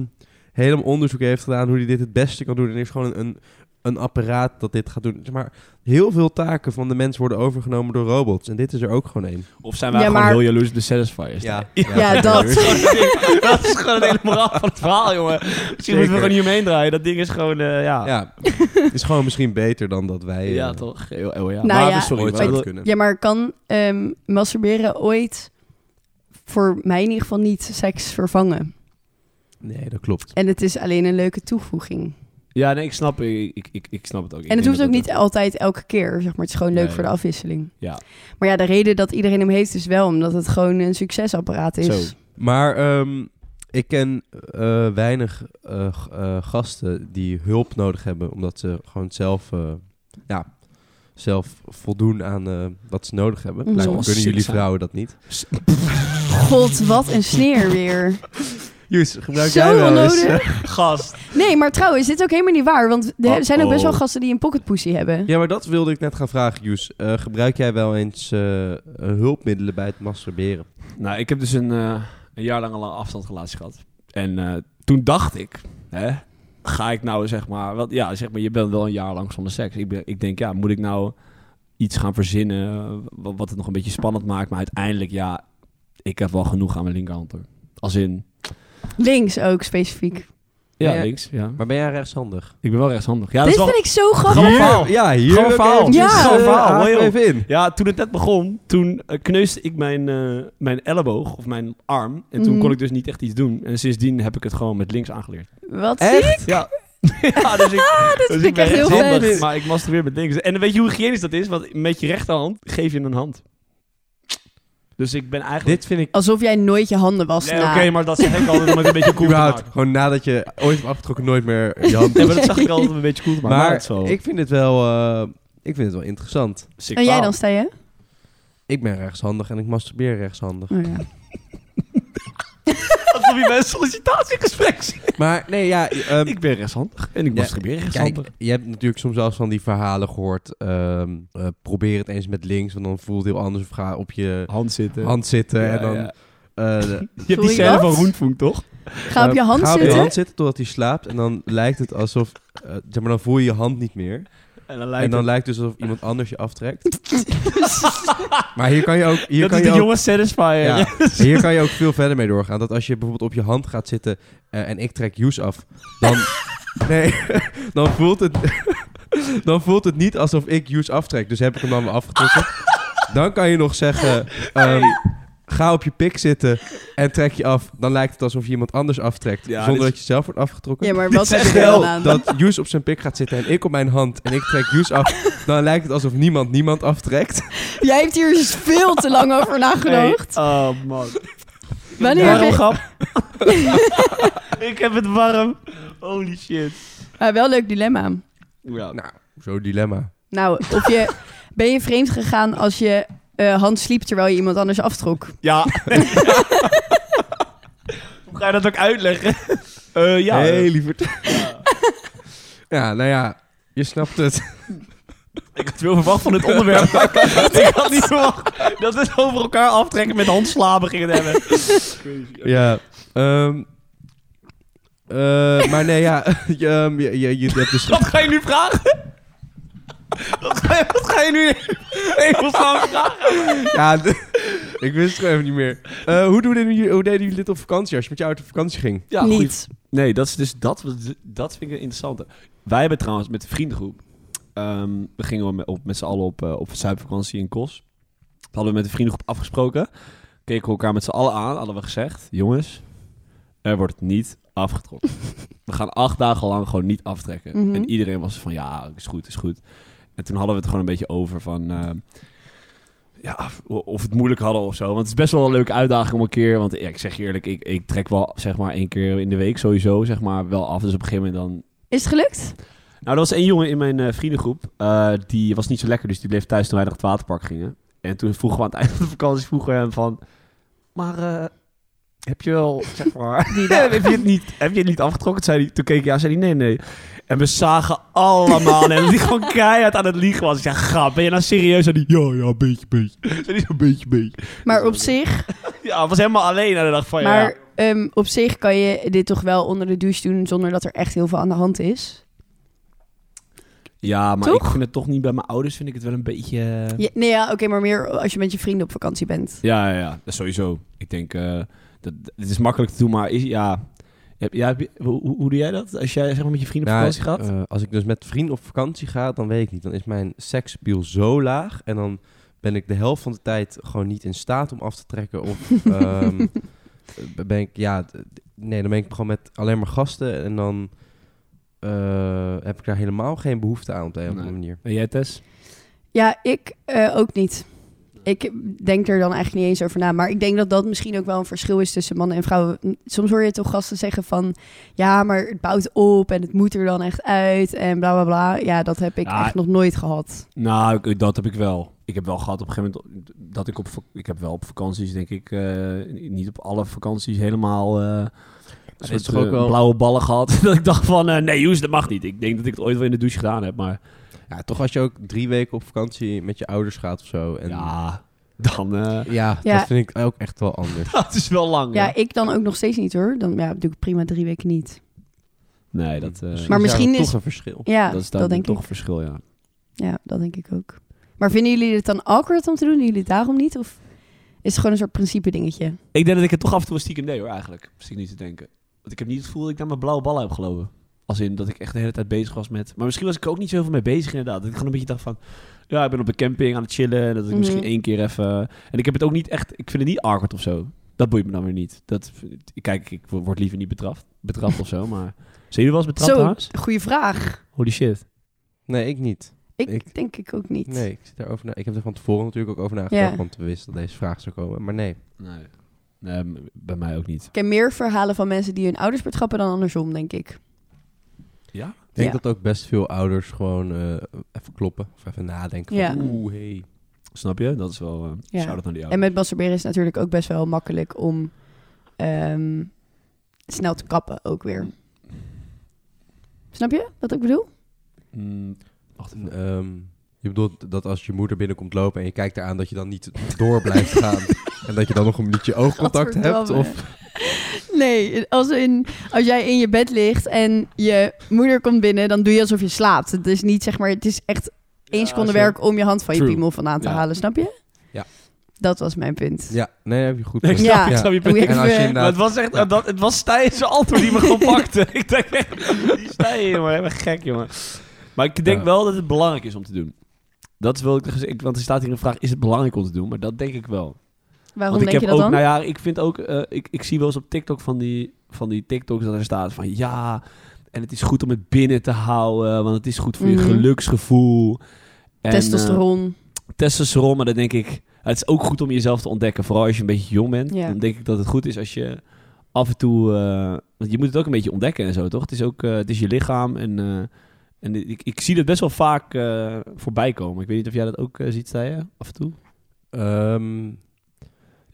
S4: helemaal onderzoek heeft gedaan hoe hij dit het beste kan doen, en er is gewoon een, een apparaat dat dit gaat doen. Zeg maar heel veel taken van de mens worden overgenomen door robots. En dit is er ook gewoon één.
S3: Of zijn
S1: Ja,
S3: wij gewoon
S1: maar-
S3: heel jaloers op de Satisfiers?
S1: Ja, dat.
S3: Dat is gewoon [LAUGHS] het ding. Dat is gewoon het hele moraal van het verhaal, jongen. Misschien moeten we
S4: Zeker.
S3: gewoon niet omheen draaien. Dat ding is gewoon, eh, ja. ja.
S4: [LAUGHS] Ja, het is gewoon misschien beter dan dat wij eh,
S3: toch? Heel- heel ja.
S1: Nou
S3: maar,
S1: ja,
S3: sorry.
S4: ooit
S3: maar
S4: zouden
S3: dat-
S4: kunnen.
S1: Ja, maar kan ehm, masturberen ooit voor mij in ieder geval niet seks vervangen?
S4: Nee, dat klopt.
S1: En het is alleen een leuke toevoeging.
S3: ja, nee, ik snap, ik, ik, ik, ik snap het ook. Ik
S1: En het
S3: denk
S1: hoeft
S3: dat
S1: ook
S3: dat-
S1: niet altijd elke keer, zeg maar. Het is gewoon leuk
S3: Nee.
S1: voor de afwisseling.
S3: Ja.
S1: Maar ja, de reden dat iedereen hem heeft is wel omdat het gewoon een succesapparaat is.
S3: Zo.
S4: Maar ehm, ik ken eh, weinig eh, g- eh, gasten die hulp nodig hebben, omdat ze gewoon zelf, eh, ja, zelf voldoen aan eh, wat ze nodig hebben.
S1: Mm.
S4: Blijkbaar
S3: Zoals
S4: kunnen jullie
S3: Sixa.
S4: vrouwen dat niet.
S1: God, wat een sneer weer.
S4: Jus, gebruik
S1: Zo
S4: jij wel eens? eh,
S1: onnodig.
S3: Gast.
S1: Nee, maar trouwens, dit is ook helemaal niet waar. Want er
S3: Uh-oh.
S1: zijn ook best wel gasten die een pocketpussy hebben.
S4: Ja, maar dat wilde ik net gaan vragen, Jus. Eh, gebruik jij wel eens eh, eh, hulpmiddelen bij het masturberen?
S3: Nou, ik heb dus een, eh, een jaar lang al een afstandsrelatie gehad. En eh, toen dacht ik, hè, ga ik nou zeg maar, wat, ja, zeg maar, je bent wel een jaar lang zonder seks. Ik, ben, ik denk, ja, moet ik nou iets gaan verzinnen eh, wat, wat het nog een beetje spannend maakt? Maar uiteindelijk, ja, ik heb wel genoeg aan mijn linkerhand hoor. Als in,
S1: Links ook specifiek.
S3: ja,
S4: Ja, ja.
S3: links, ja.
S4: Maar ben jij rechtshandig?
S3: Ik ben wel rechtshandig. Ja, dat
S1: dit
S3: is wel...
S1: vind ik zo grappig.
S3: Grappig verhaal.
S4: Ja, hier.
S3: Gewoon verhaal.
S1: Ja.
S4: Gewoon
S1: Gewoon
S3: verhaal,
S4: verhaal.
S3: hoor, joh.
S4: even in.
S3: Ja, toen het net begon, toen eh, kneusde ik mijn, eh, mijn elleboog of mijn arm. En toen
S1: Mhm.
S3: kon ik dus niet echt iets doen. En sindsdien heb ik het gewoon met links aangeleerd.
S1: Wat
S4: Echt?
S1: zie je?
S3: Ja. [LAUGHS] ja, dus ik, dus
S1: Ah, vind ik
S3: ben
S1: echt heel
S3: rechtshandig,
S1: vet.
S3: Maar ik masturbeer met links. En weet je hoe hygiënisch dat is? Want met je rechterhand geef je een hand. Dus ik ben eigenlijk...
S4: Dit vind ik
S1: Alsof jij nooit je handen was
S3: Nee,
S1: na.
S3: oké, maar dat zeg ik altijd om het een beetje cool te
S4: überhaupt,
S3: maken.
S4: gewoon nadat je ooit hebt afgetrokken, nooit meer
S3: [LAUGHS]
S4: je hand
S3: Nee, maar dat zag ik altijd om een [LAUGHS] beetje cool te maken. Maar, het
S4: Maar
S3: is wel Dus
S4: ik vind het wel, eh, ik vind het wel interessant.
S3: sick
S1: en Oh, jij
S3: verhaal.
S1: dan, sta je?
S4: Ik ben rechtshandig en ik
S3: [LAUGHS]
S4: masturbeer rechtshandig.
S1: Oh, ja.
S2: Alsof je bij een sollicitatiegesprek zit.
S4: Maar nee,
S3: [LAUGHS]
S4: ja. ehm,
S2: Ik ben rechtshandig.
S3: En ik
S4: Ja,
S3: masturbeer
S4: Kijk,
S3: rechtshandig.
S4: je hebt natuurlijk soms zelfs van die verhalen gehoord. ehm, eh, probeer het eens met links, want dan voelt het heel anders. Of ga op je
S3: Hand zitten.
S4: hand zitten
S3: Ja,
S4: en dan...
S3: ja. [LAUGHS]
S4: eh, de-
S3: Je hebt die
S1: Sorry,
S3: scène
S1: wat?
S3: van Roenfunk, toch?
S1: Ga op je
S4: eh,
S1: hand
S4: ga op
S1: zitten.
S4: je hand zitten totdat hij slaapt. En dan lijkt het alsof... eh, zeg maar, dan voel je je hand niet meer.
S3: En dan
S4: en dan lijkt het dus alsof iemand anders je aftrekt. maar hier kan je ook... Hier
S3: dat
S4: kan
S3: is
S4: je
S3: de
S4: ook
S3: jonge satisfier.
S4: Ja. [LAUGHS] Hier kan je ook veel verder mee doorgaan. Dat als je bijvoorbeeld op je hand gaat zitten eh, en ik trek Joes af, [LAUGHS] dan, nee, dan, voelt het, [LAUGHS] dan voelt het niet alsof ik Joes aftrek. Dus heb ik hem dan weer [LAUGHS] afgetrokken. Dan kan je nog zeggen, ehm, ga op je pik zitten en trek je af. Dan lijkt het alsof je iemand anders aftrekt,
S3: Ja,
S4: zonder
S3: dit-
S4: dat je zelf wordt afgetrokken.
S1: Ja, maar wat
S3: Dit is
S1: heb je er
S3: echt
S1: dan
S3: heel-
S1: aan?
S4: Dat Joes op zijn pik gaat zitten en ik op mijn hand en ik trek Joes
S3: [LAUGHS]
S4: af. Dan lijkt het alsof niemand niemand aftrekt.
S1: Jij hebt hier dus veel te lang over nagedacht.
S3: Oh man.
S1: Wanneer
S3: Warm
S1: heb je-
S3: grap. [LAUGHS] ik heb het warm. Holy shit.
S1: Ah, wel een leuk dilemma.
S3: Ja.
S4: Nou, zo'n dilemma.
S1: Nou, of
S3: [LAUGHS]
S1: je, ben je vreemd gegaan als je eh, hand sliep terwijl je iemand anders aftrok?
S3: Ja. [LAUGHS] Hoe ga je dat ook uitleggen? [LAUGHS] Eh, ja.
S4: hey, lieverd. [LAUGHS] Ja, nou ja, je snapt het.
S3: Ik had veel verwacht [LAUGHS] van dit onderwerp. [LAUGHS] ik had niet verwacht dat we het over elkaar aftrekken met handslapen gingen [LAUGHS] hebben.
S4: [LAUGHS] Ja. ehm, eh, maar nee, ja, [LAUGHS] je, ehm, je, je, je hebt dus...
S3: Wat ga je nu vragen? Wat ga je, wat ga je nu even vragen?
S4: [LAUGHS] Ja, [LAUGHS] d- ik wist het gewoon even niet meer. Eh, hoe, doen jullie, hoe deden jullie dit op vakantie, als je met je auto op vakantie ging?
S3: Ja,
S1: Niet.
S3: Nee, dat is dus dat. Dat vind ik een interessante. Wij hebben trouwens met de vriendengroep. ehm, we gingen met, op, met z'n allen op, eh, op zuipvakantie in Kos. Dat hadden we met de vriendengroep afgesproken. Keken we elkaar met z'n allen aan. Hadden we gezegd: jongens, er wordt niet afgetrokken. we gaan acht dagen lang gewoon niet aftrekken.
S1: Mhm.
S3: En iedereen was van: ja, is goed, is goed. En toen hadden we het gewoon een beetje over van. ehm, ja, o- of het moeilijk hadden of zo. Want het is best wel een leuke uitdaging om een keer. Want ja, ik zeg je eerlijk, ik, ik trek wel zeg maar één keer in de week sowieso zeg maar wel af. Dus op een gegeven moment dan.
S1: Is het gelukt?
S3: Nou, er was één jongen in mijn eh, vriendengroep. eh, die was niet zo lekker, dus die bleef thuis toen wij naar het waterpark gingen. En toen vroegen we aan het einde van de vakantie vroegen we hem van. Maar eh, heb je wel zeg maar. [LAUGHS]
S1: Die dag.
S3: heb, je het niet, heb je het niet afgetrokken? Toen, zei hij, toen keek hij aan, zei hij nee, nee. En we zagen allemaal hem die gewoon keihard aan het liegen was. Ik zei, grap, ben je nou serieus? En die, ja, ja, een beetje, beetje. Zei hij, een beetje, beetje.
S1: Maar op zich,
S3: [LAUGHS] Ja, het was helemaal alleen aan de dag van
S1: maar, ehm, op zich kan je dit toch wel onder de douche doen zonder dat er echt heel veel aan de hand is.
S3: Ja, maar
S1: Toch?
S3: ik vind het toch niet bij mijn ouders, vind ik het wel een beetje... eh,
S1: Je- nee, ja, oké, maar meer als je met je vrienden op vakantie bent.
S3: Ja, ja, ja. Dat is sowieso. Ik denk, eh, dat, het is makkelijk te doen, maar is, ja... Heb, ja, heb je- hoe, hoe- hoe doe jij dat? Als jij zeg maar, met je vrienden op
S4: Nou,
S3: vakantie gaat?
S4: eh, als ik dus met vrienden op vakantie ga, dan weet ik niet. Dan is mijn seksspiel zo laag en dan ben ik de helft van de tijd gewoon niet in staat om af te trekken.
S1: [LAUGHS]
S4: Of ehm, eh, ben ik, ja, d- d- nee, dan ben ik gewoon met alleen maar gasten en dan eh, heb ik daar helemaal geen behoefte aan op de een of
S3: Nee.
S4: andere manier.
S3: En eh, jij, Tess?
S1: Ja, ik eh, ook niet. Ik denk er dan eigenlijk niet eens over na. Maar ik denk dat dat misschien ook wel een verschil is tussen mannen en vrouwen. Soms hoor je toch gasten zeggen van... Ja, maar het bouwt op en het moet er dan echt uit en bla bla bla. Ja, dat heb ik
S3: Ja.
S1: echt nog nooit gehad.
S3: Nou, ik- dat heb ik wel. Ik heb wel gehad op een gegeven moment dat ik op... vak- Ik heb wel op vakanties, denk ik, eh, niet op alle vakanties helemaal... eh een
S4: is
S3: soort,
S4: toch ook
S3: eh,
S4: wel-
S3: blauwe ballen gehad. [LAUGHS] dat ik dacht van, eh, nee, Joes, dat mag niet. Ik denk dat ik het ooit wel in de douche gedaan heb, maar...
S4: Ja, toch als je ook drie weken op vakantie met je ouders gaat of zo. En
S3: Ja, dan... eh,
S4: [LAUGHS] Ja,
S1: Ja.
S4: dat vind ik ook echt wel
S1: [LAUGHS]
S4: anders.
S3: Dat is wel lang.
S1: Ja, ik dan ook nog steeds niet hoor. Dan ja, doe ik prima drie weken niet.
S3: Nee, dat, eh,
S1: Maar
S4: is daar
S1: misschien
S4: wel
S1: is-
S4: toch een verschil.
S1: Ja,
S3: dat is
S1: dat,
S3: daar
S1: denk
S3: toch
S1: ik.
S3: een verschil, ja.
S1: Ja, dat denk ik ook. Maar vinden jullie het dan awkward om te doen? Doen jullie het daarom niet? Of is het gewoon een soort principe dingetje?
S3: Ik denk dat ik het toch af en toe stiekem deed hoor, eigenlijk. Stiekem niet te denken. Want ik heb niet het gevoel dat ik naar mijn blauwe ballen heb gelopen. Als in dat ik echt de hele tijd bezig was met... Maar misschien was ik er ook niet zoveel mee bezig inderdaad. Dat ik gewoon een beetje dacht van... Ja, ik ben op een camping aan het chillen. En dat ik
S1: Mhm.
S3: misschien één keer even... En ik heb het ook niet echt... Ik vind het niet awkward of zo. Dat boeit me dan weer niet. Dat, kijk, ik word liever niet betrapt, betrapt of
S1: [LAUGHS]
S3: zo, maar... Zijn jullie wel eens betrapt
S1: Zo,
S3: trouwens?
S1: goede vraag.
S3: Holy shit.
S4: Nee, ik niet.
S1: Ik,
S4: Ik-
S1: denk ik ook niet.
S4: Nee, ik, zit daarover na- ik heb er van tevoren natuurlijk ook over nagedacht,
S1: Ja.
S4: want we wisten dat deze vraag zou komen. Maar nee.
S3: Nee. nee, m- bij mij ook niet.
S1: Ik ken meer verhalen van mensen die hun ouders betrappen dan andersom, denk ik.
S3: Ja?
S4: Ik denk
S1: Ja.
S4: dat ook best veel ouders gewoon eh, even kloppen of even nadenken.
S1: Ja.
S4: Van, Oeh, hey.
S3: Snap je? Dat is wel... eh
S1: Ja.
S3: Shout-out naar die
S4: Oh.
S1: En
S3: oude.
S1: met masturberen is het natuurlijk ook best wel makkelijk om ehm, snel te kappen ook weer. Snap je wat ik bedoel?
S3: Mm,
S4: Wacht even. Ehm, je bedoelt dat als je moeder binnenkomt lopen en je kijkt eraan dat je dan niet door blijft
S1: [LAUGHS]
S4: gaan. en dat je dan nog een beetje oogcontact hebt.
S1: Gadverdamme. [LAUGHS]
S4: Of,
S1: Nee, als, in, als jij in je bed ligt en je moeder komt binnen, dan doe je alsof je slaapt. Het is niet zeg maar, het is echt één
S3: Ja,
S1: seconde
S3: zo.
S1: werk om je hand van je
S3: True.
S1: piemel vandaan te
S3: Ja.
S1: halen, snap je?
S4: Ja.
S1: Dat was mijn punt.
S4: ja, nee, heb je goed.
S3: Nee, ik
S4: punt.
S3: snap,
S1: Ja.
S3: ik snap je punt.
S1: Hoe eh, je-
S4: En als je
S1: Maar
S3: Maar het
S4: inderdaad...
S3: was echt, dat, het was Stijn's [LAUGHS] antwoord die me gewoon pakte. [LAUGHS] ik denk echt, die Stijn, [LAUGHS] jongen, helemaal gek, jongen. Maar ik denk
S4: Ja.
S3: wel dat het belangrijk is om te doen. Dat is wel, ik- want er staat hier een vraag, is het belangrijk om te doen? Maar dat denk ik wel.
S1: Waarom
S3: Want ik
S1: denk
S3: heb
S1: je dat
S3: ook,
S1: dan?
S3: nou ja, ik vind ook, eh, ik, ik zie wel eens op TikTok van die, van die TikToks dat er staat van ja, en het is goed om het binnen te houden, want het is goed voor
S1: Mhm.
S3: je geluksgevoel. En, eh,
S1: Testosteron.
S3: testosteron, maar dan denk ik, het is ook goed om jezelf te ontdekken. Vooral als je een beetje jong bent,
S1: Ja.
S3: dan denk ik dat het goed is als je af en toe, eh, want je moet het ook een beetje ontdekken en zo, toch? Het is ook, eh, het is je lichaam en, eh, en ik, ik zie dat best wel vaak eh, voorbij komen. Ik weet niet of jij dat ook eh, ziet, zei je, af en toe?
S4: Ehm,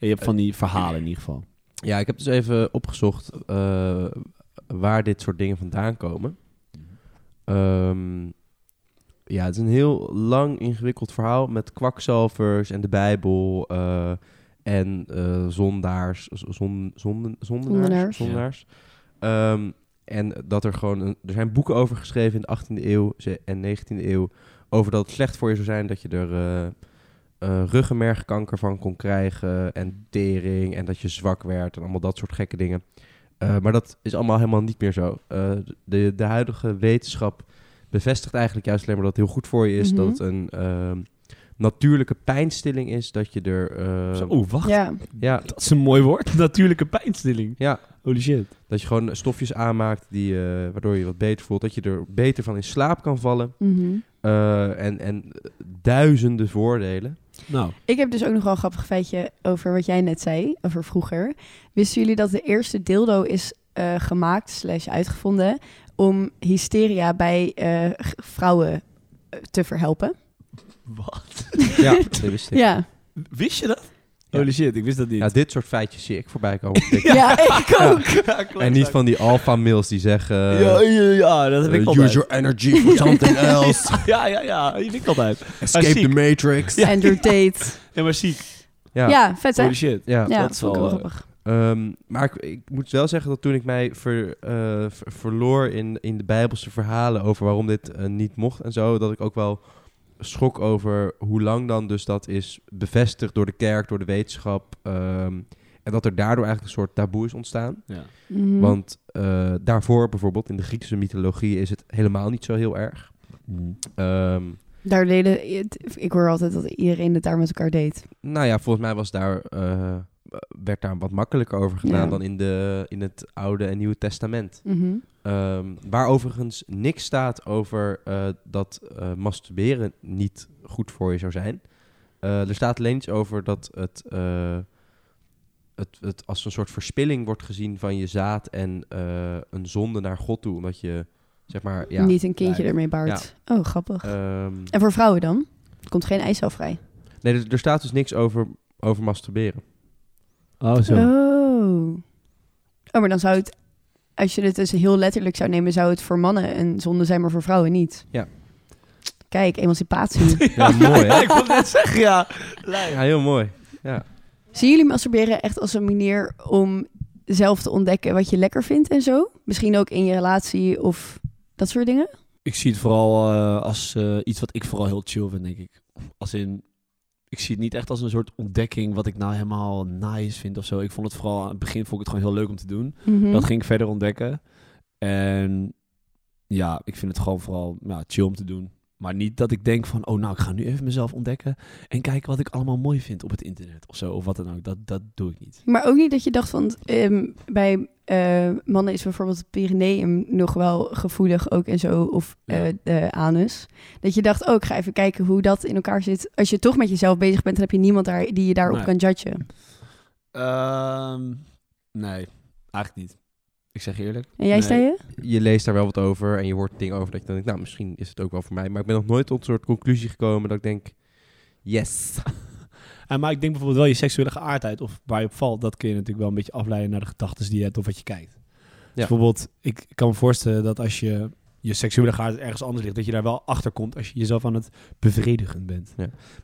S3: Ja, je hebt van die verhalen in ieder geval.
S4: ja, ik heb dus even opgezocht eh, waar dit soort dingen vandaan komen. Ehm, ja, het is een heel lang ingewikkeld verhaal met kwakzalvers en de Bijbel eh, en eh, zondaars, z- zon, zonden, zondenaars.
S1: Zondenaars.
S4: zondenaars. Ehm, en dat er gewoon, een- er zijn boeken over geschreven in de 18e eeuw ze- en 19e eeuw over dat het slecht voor je zou zijn dat je er eh, eh, ruggenmergkanker van kon krijgen en tering en dat je zwak werd en allemaal dat soort gekke dingen. Eh, maar dat is allemaal helemaal niet meer zo. Eh, de, de huidige wetenschap bevestigt eigenlijk juist alleen maar dat het heel goed voor je is.
S1: Mhm.
S4: Dat het een ehm, natuurlijke pijnstilling is. Dat je er. eh,
S3: Zo, Oeh, wacht.
S1: Ja.
S4: ja,
S3: Dat is een mooi woord. [LAUGHS] Natuurlijke pijnstilling.
S4: ja,
S3: Holy shit.
S4: dat je gewoon stofjes aanmaakt die, eh, waardoor je je wat beter voelt. Dat je er beter van in slaap kan vallen.
S1: mhm.
S4: Eh, en, en duizenden voordelen.
S1: [LAUGHS]
S3: Nou,
S1: Ik heb dus ook nog wel een grappig feitje over wat jij net zei, over vroeger. Wisten jullie dat de eerste dildo is eh, gemaakt, slash uitgevonden, om hysteria bij eh, g- vrouwen eh, te verhelpen?
S3: wat?
S4: Ja, dat wist ik. Ja.
S1: Ja,
S3: Wist je dat?
S4: Ja.
S3: Holy shit, ik wist dat niet.
S4: dit soort feitjes zie ik voorbij komen. op
S1: ja.
S4: TikTok.
S1: ik ook.
S4: En niet van die alpha-mails die zeggen...
S3: ja, ja, ja, dat heb ik
S4: eh,
S3: altijd.
S4: use your energy
S3: [LAUGHS]
S4: for something else.
S3: Ja, ja, ja, die vind ik altijd.
S4: Escape the
S3: ziek.
S4: matrix.
S3: Ja.
S1: Andrew Tate.
S3: Ja, maar ziek.
S1: Ja,
S4: Ja.
S1: vet hè?
S3: Holy shit.
S4: Ja.
S1: Ja,
S3: dat is
S1: vond ik
S3: wel,
S1: wel grappig.
S4: Ehm, maar ik, ik moet wel zeggen dat toen ik mij ver, eh, ver- verloor in, in de Bijbelse verhalen over waarom dit eh, niet mocht en zo, dat ik ook wel schrok over hoe lang dan dus dat is bevestigd door de kerk, door de wetenschap. ehm, en dat er daardoor eigenlijk een soort taboe is ontstaan.
S3: Ja.
S1: Mhm.
S4: Want eh, daarvoor bijvoorbeeld in de Griekse mythologie is het helemaal niet zo heel erg. Ehm,
S1: Daar deden, ik hoor altijd dat iedereen het daar met elkaar deed.
S4: nou ja, volgens mij was daar, eh, werd daar wat makkelijker over gedaan
S1: Ja.
S4: dan in, de, in het Oude en Nieuwe Testament.
S1: Mhm.
S4: Ehm, waar overigens niks staat over eh, dat eh, masturberen niet goed voor je zou zijn. Eh, er staat alleen iets over dat het, eh, het, het als een soort verspilling wordt gezien van je zaad en eh, een zonde naar God toe. Omdat je, zeg maar, ja.
S1: Niet een kindje
S3: lijkt.
S1: ermee baart. Oh, grappig.
S4: ehm,
S1: en voor vrouwen dan? Er komt geen ijs vrij.
S4: nee, er, er staat dus niks over, over masturberen.
S3: Oh, zo.
S1: Oh. Oh, maar dan zou het, als je het dus heel letterlijk zou nemen, zou het voor mannen een zonde zijn, maar voor vrouwen niet.
S4: Ja.
S1: Kijk, emancipatie.
S4: Ja, mooi hè?
S3: [LAUGHS] ik wil net zeggen, ja.
S4: Ja, heel mooi.
S1: Zien jullie masturberen echt als een manier om zelf te ontdekken wat je lekker vindt en zo? Misschien ook in je relatie of dat soort dingen?
S3: Ik zie het vooral eh, als eh, iets wat ik vooral heel chill vind, denk ik. Als in, ik zie het niet echt als een soort ontdekking wat ik nou helemaal nice vind of zo. Ik vond het vooral, aan het begin vond ik het gewoon heel leuk om te doen.
S1: Mhm.
S3: Dat ging ik verder ontdekken. En ja, ik vind het gewoon vooral ja, chill om te doen. Maar niet dat ik denk van, oh nou, ik ga nu even mezelf ontdekken en kijken wat ik allemaal mooi vind op het internet of zo, of wat dan ook. Dat, dat doe ik niet.
S1: Maar ook niet dat je dacht, want ehm, bij eh, mannen is bijvoorbeeld het perineum nog wel gevoelig ook en zo, of eh,
S3: Ja.
S1: de anus. Dat je dacht, ook ik ga even kijken hoe dat in elkaar zit. Als je toch met jezelf bezig bent, dan heb je niemand daar, die je daarop
S3: Nee.
S1: kan judgen.
S3: Ehm, nee, eigenlijk niet. Ik zeg eerlijk.
S1: En jij,
S3: Nee.
S1: zei je?
S4: je leest daar wel wat over en je hoort dingen over dat je dan denkt, nou, misschien is het ook wel voor mij. Maar ik ben nog nooit tot een soort conclusie gekomen dat ik denk, [LAUGHS] Yes.
S3: En, maar ik denk bijvoorbeeld wel je seksuele geaardheid of waar je op valt, dat kun je natuurlijk wel een beetje afleiden naar de gedachten die je hebt of wat je kijkt. Dus bijvoorbeeld, ik kan me voorstellen dat als je je seksuele geaardheid ergens anders ligt, dat je daar wel achter komt als je jezelf aan het bevredigen bent.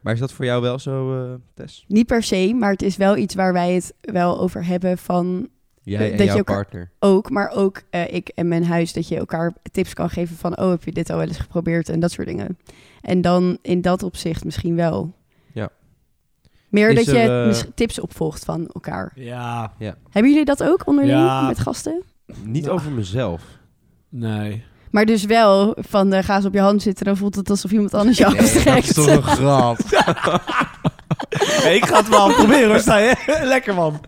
S4: Maar is dat voor jou wel zo, eh, Tess?
S1: Niet per se, maar het is wel iets waar wij het wel over hebben van
S4: Jij
S1: Eh,
S4: en
S1: dat je
S4: jouw
S1: elkaar-
S4: partner.
S1: ook, maar ook eh, ik en mijn huis, dat je elkaar tips kan geven van, oh, heb je dit al wel eens geprobeerd en dat soort dingen. En dan in dat opzicht misschien wel.
S4: Ja.
S1: Meer
S4: Is
S1: dat je
S4: er, eh,
S1: mis- tips opvolgt van elkaar.
S3: Ja,
S1: Hebben jullie dat ook onderling
S3: Ja.
S1: met gasten?
S4: Niet
S3: Nou.
S4: over mezelf.
S3: nee.
S1: Maar dus wel van eh, ga eens op je hand zitten, dan voelt het alsof iemand anders je
S4: [LAUGHS] dat
S1: afstrekt.
S4: is toch een grap. [LAUGHS]
S3: ik ga het wel proberen, hoor, sta je? Lekker man.
S1: [LAUGHS]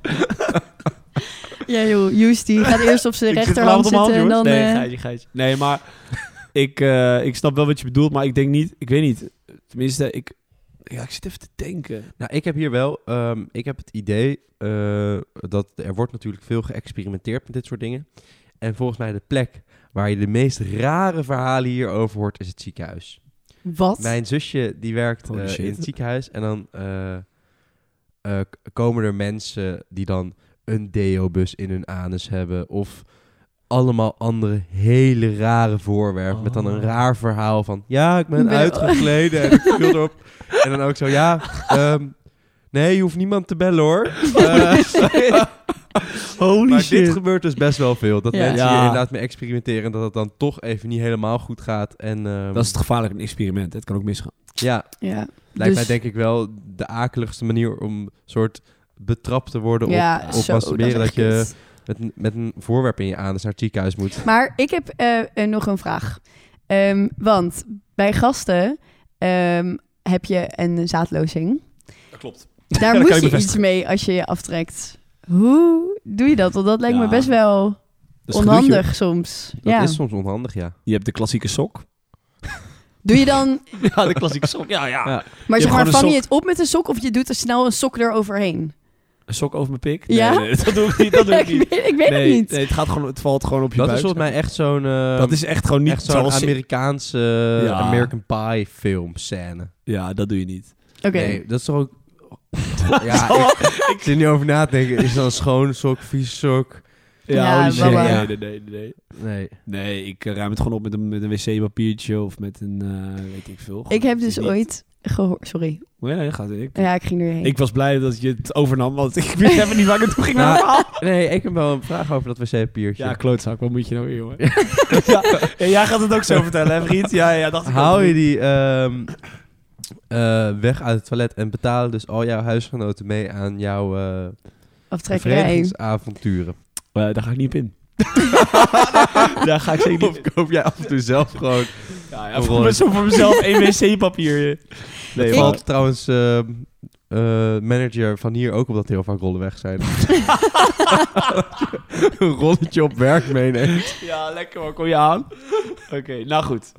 S1: ja joh, Joes die gaat eerst op zijn
S3: Ik zit
S1: rechterhand
S3: vanavond op
S1: zitten
S3: mijn
S1: en dan...
S3: hand, jongens.
S1: eh,
S3: Nee, geitje, geitje. Nee, maar [LAUGHS] ik, eh, ik snap wel wat je bedoelt, maar ik denk niet... Ik weet niet. Tenminste, ik... Ja, ik zit even te denken.
S4: Nou, ik heb hier wel, ehm, ik heb het idee eh, dat er wordt natuurlijk veel geëxperimenteerd met dit soort dingen. En volgens mij de plek waar je de meest rare verhalen hierover hoort is het ziekenhuis.
S1: wat?
S4: Mijn zusje die werkt
S3: Holy
S4: eh,
S3: shit.
S4: in het ziekenhuis en dan eh, eh, k- komen er mensen die dan een deobus in hun anus hebben of allemaal andere hele rare voorwerpen met dan een
S3: Oh.
S4: raar verhaal van ja ik ben,
S1: Ik ben-
S4: uitgekleden en ik viel erop en dan ook zo ja ehm, nee je hoeft niemand te bellen hoor
S1: [LAUGHS]
S4: Eh,
S3: Holy
S4: maar dit gebeurt dus best wel veel dat
S1: Ja.
S4: mensen hier
S3: Ja.
S4: inderdaad mee experimenteren en dat het dan toch even niet helemaal goed gaat en ehm,
S3: Dat is het gevaarlijke in een experiment. hè. Het kan ook misgaan.
S4: ja
S1: ja.
S4: Lijkt
S1: Dus-
S4: mij denk ik wel de akeligste manier om soort betrapt te worden
S1: ja,
S4: op,
S1: zo,
S4: op masturberen.
S1: is
S4: Dat,
S1: echt
S4: je
S1: kut.
S4: met, een- met een voorwerp in je anus naar het ziekenhuis moet.
S1: Maar ik heb eh, eh, nog een vraag. Ehm, want bij gasten ehm, heb je een zaadlozing.
S3: Dat klopt.
S1: Daar
S3: [LAUGHS] dat kan
S1: moet
S3: ik
S1: je iets
S3: bevestigen.
S1: mee als je je aftrekt. Hoe doe je dat? Want dat lijkt me
S3: Ja.
S1: best wel onhandig soms.
S4: Dat
S1: Ja.
S4: is soms onhandig, ja.
S3: Je hebt de klassieke sok.
S1: Doe je dan...
S3: Ja, de klassieke sok. Ja, ja.
S4: Ja.
S1: Maar
S3: Je
S1: zeg
S3: hebt
S1: maar,
S3: gewoon
S1: vang
S3: een
S1: je het op met een sok of je doet er snel een sok eroverheen?
S3: Een sok over mijn pik?
S1: Ja?
S3: Nee, nee, dat doe ik niet. Dat doe
S1: [LAUGHS]
S3: ik
S1: ik
S3: niet.
S1: weet, ik weet
S3: nee,
S1: het niet.
S3: nee, het, gaat gewoon, het valt gewoon op je
S4: Dat is
S3: buik.
S4: volgens mij echt zo'n eh,
S3: dat is echt gewoon niet
S4: echt zo'n
S3: zoals...
S4: Amerikaanse eh,
S3: Ja.
S4: American Pie film scène.
S3: Ja, dat doe je niet.
S1: Oké.
S4: Nee, dat is toch
S3: [LAUGHS]
S4: ook... ja, ik, ik zit nu over na te denken. Is dat een schoon sok, vies sok?
S1: Ja,
S3: holy shit.
S1: baba.
S3: nee, nee, nee, nee, nee.
S4: Nee.
S3: Nee, ik eh, ruim het gewoon op met een, met een wc-papiertje of met een, eh, weet ik veel.
S1: Ik heb dus
S3: Niet-
S1: ooit gehoord... Sorry.
S3: Nee, nee, gaat ik.
S1: Ja, ik ging er heen.
S3: Ik was blij dat je het overnam, want ik wist even niet waar ik naartoe ging.
S4: Nou,
S3: met mijn verhaal.
S4: [LAUGHS] Nee, ik heb wel een vraag over dat wc-papiertje.
S3: Ja, klootzak, wat moet je nou weer, jongen? ja, en jij gaat het ook zo vertellen, hè, vriend? Ja, ja, dacht ik. ook.
S4: Haal je die ehm, eh, weg uit het toilet en betalen dus al jouw huisgenoten mee aan jouw eh
S1: Aftrekkerij.
S4: verenigingsavonturen? [LAUGHS]
S3: Eh, daar ga ik niet op in. daar ga ik zeker niet
S4: Of koop jij af en toe zelf gewoon...
S3: Ja,
S4: ja, voor
S3: voor,
S4: me-
S3: zo voor mezelf één wc-papier. Nee,
S4: Er
S1: maar-
S4: valt trouwens ehm, eh, manager van hier ook op dat heel vaak rollen weg zijn. [LAUGHS] een rolletje op werk
S3: [LAUGHS]
S4: meeneemt.
S3: Ja, lekker hoor, kom je aan? Oké, nou goed.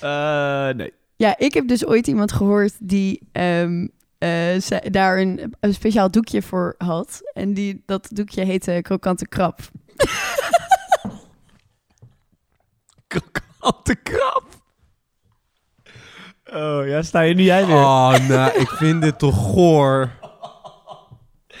S3: Eh, nee. [LAUGHS]
S1: Ja, ik heb dus ooit iemand gehoord die ehm, eh, ze- daar een, een speciaal doekje voor had. En die, dat doekje heette krokante krab.
S3: Krokante krap. Oh, ja, sta je nu jij weer.
S4: Oh, nou, ik vind dit toch goor.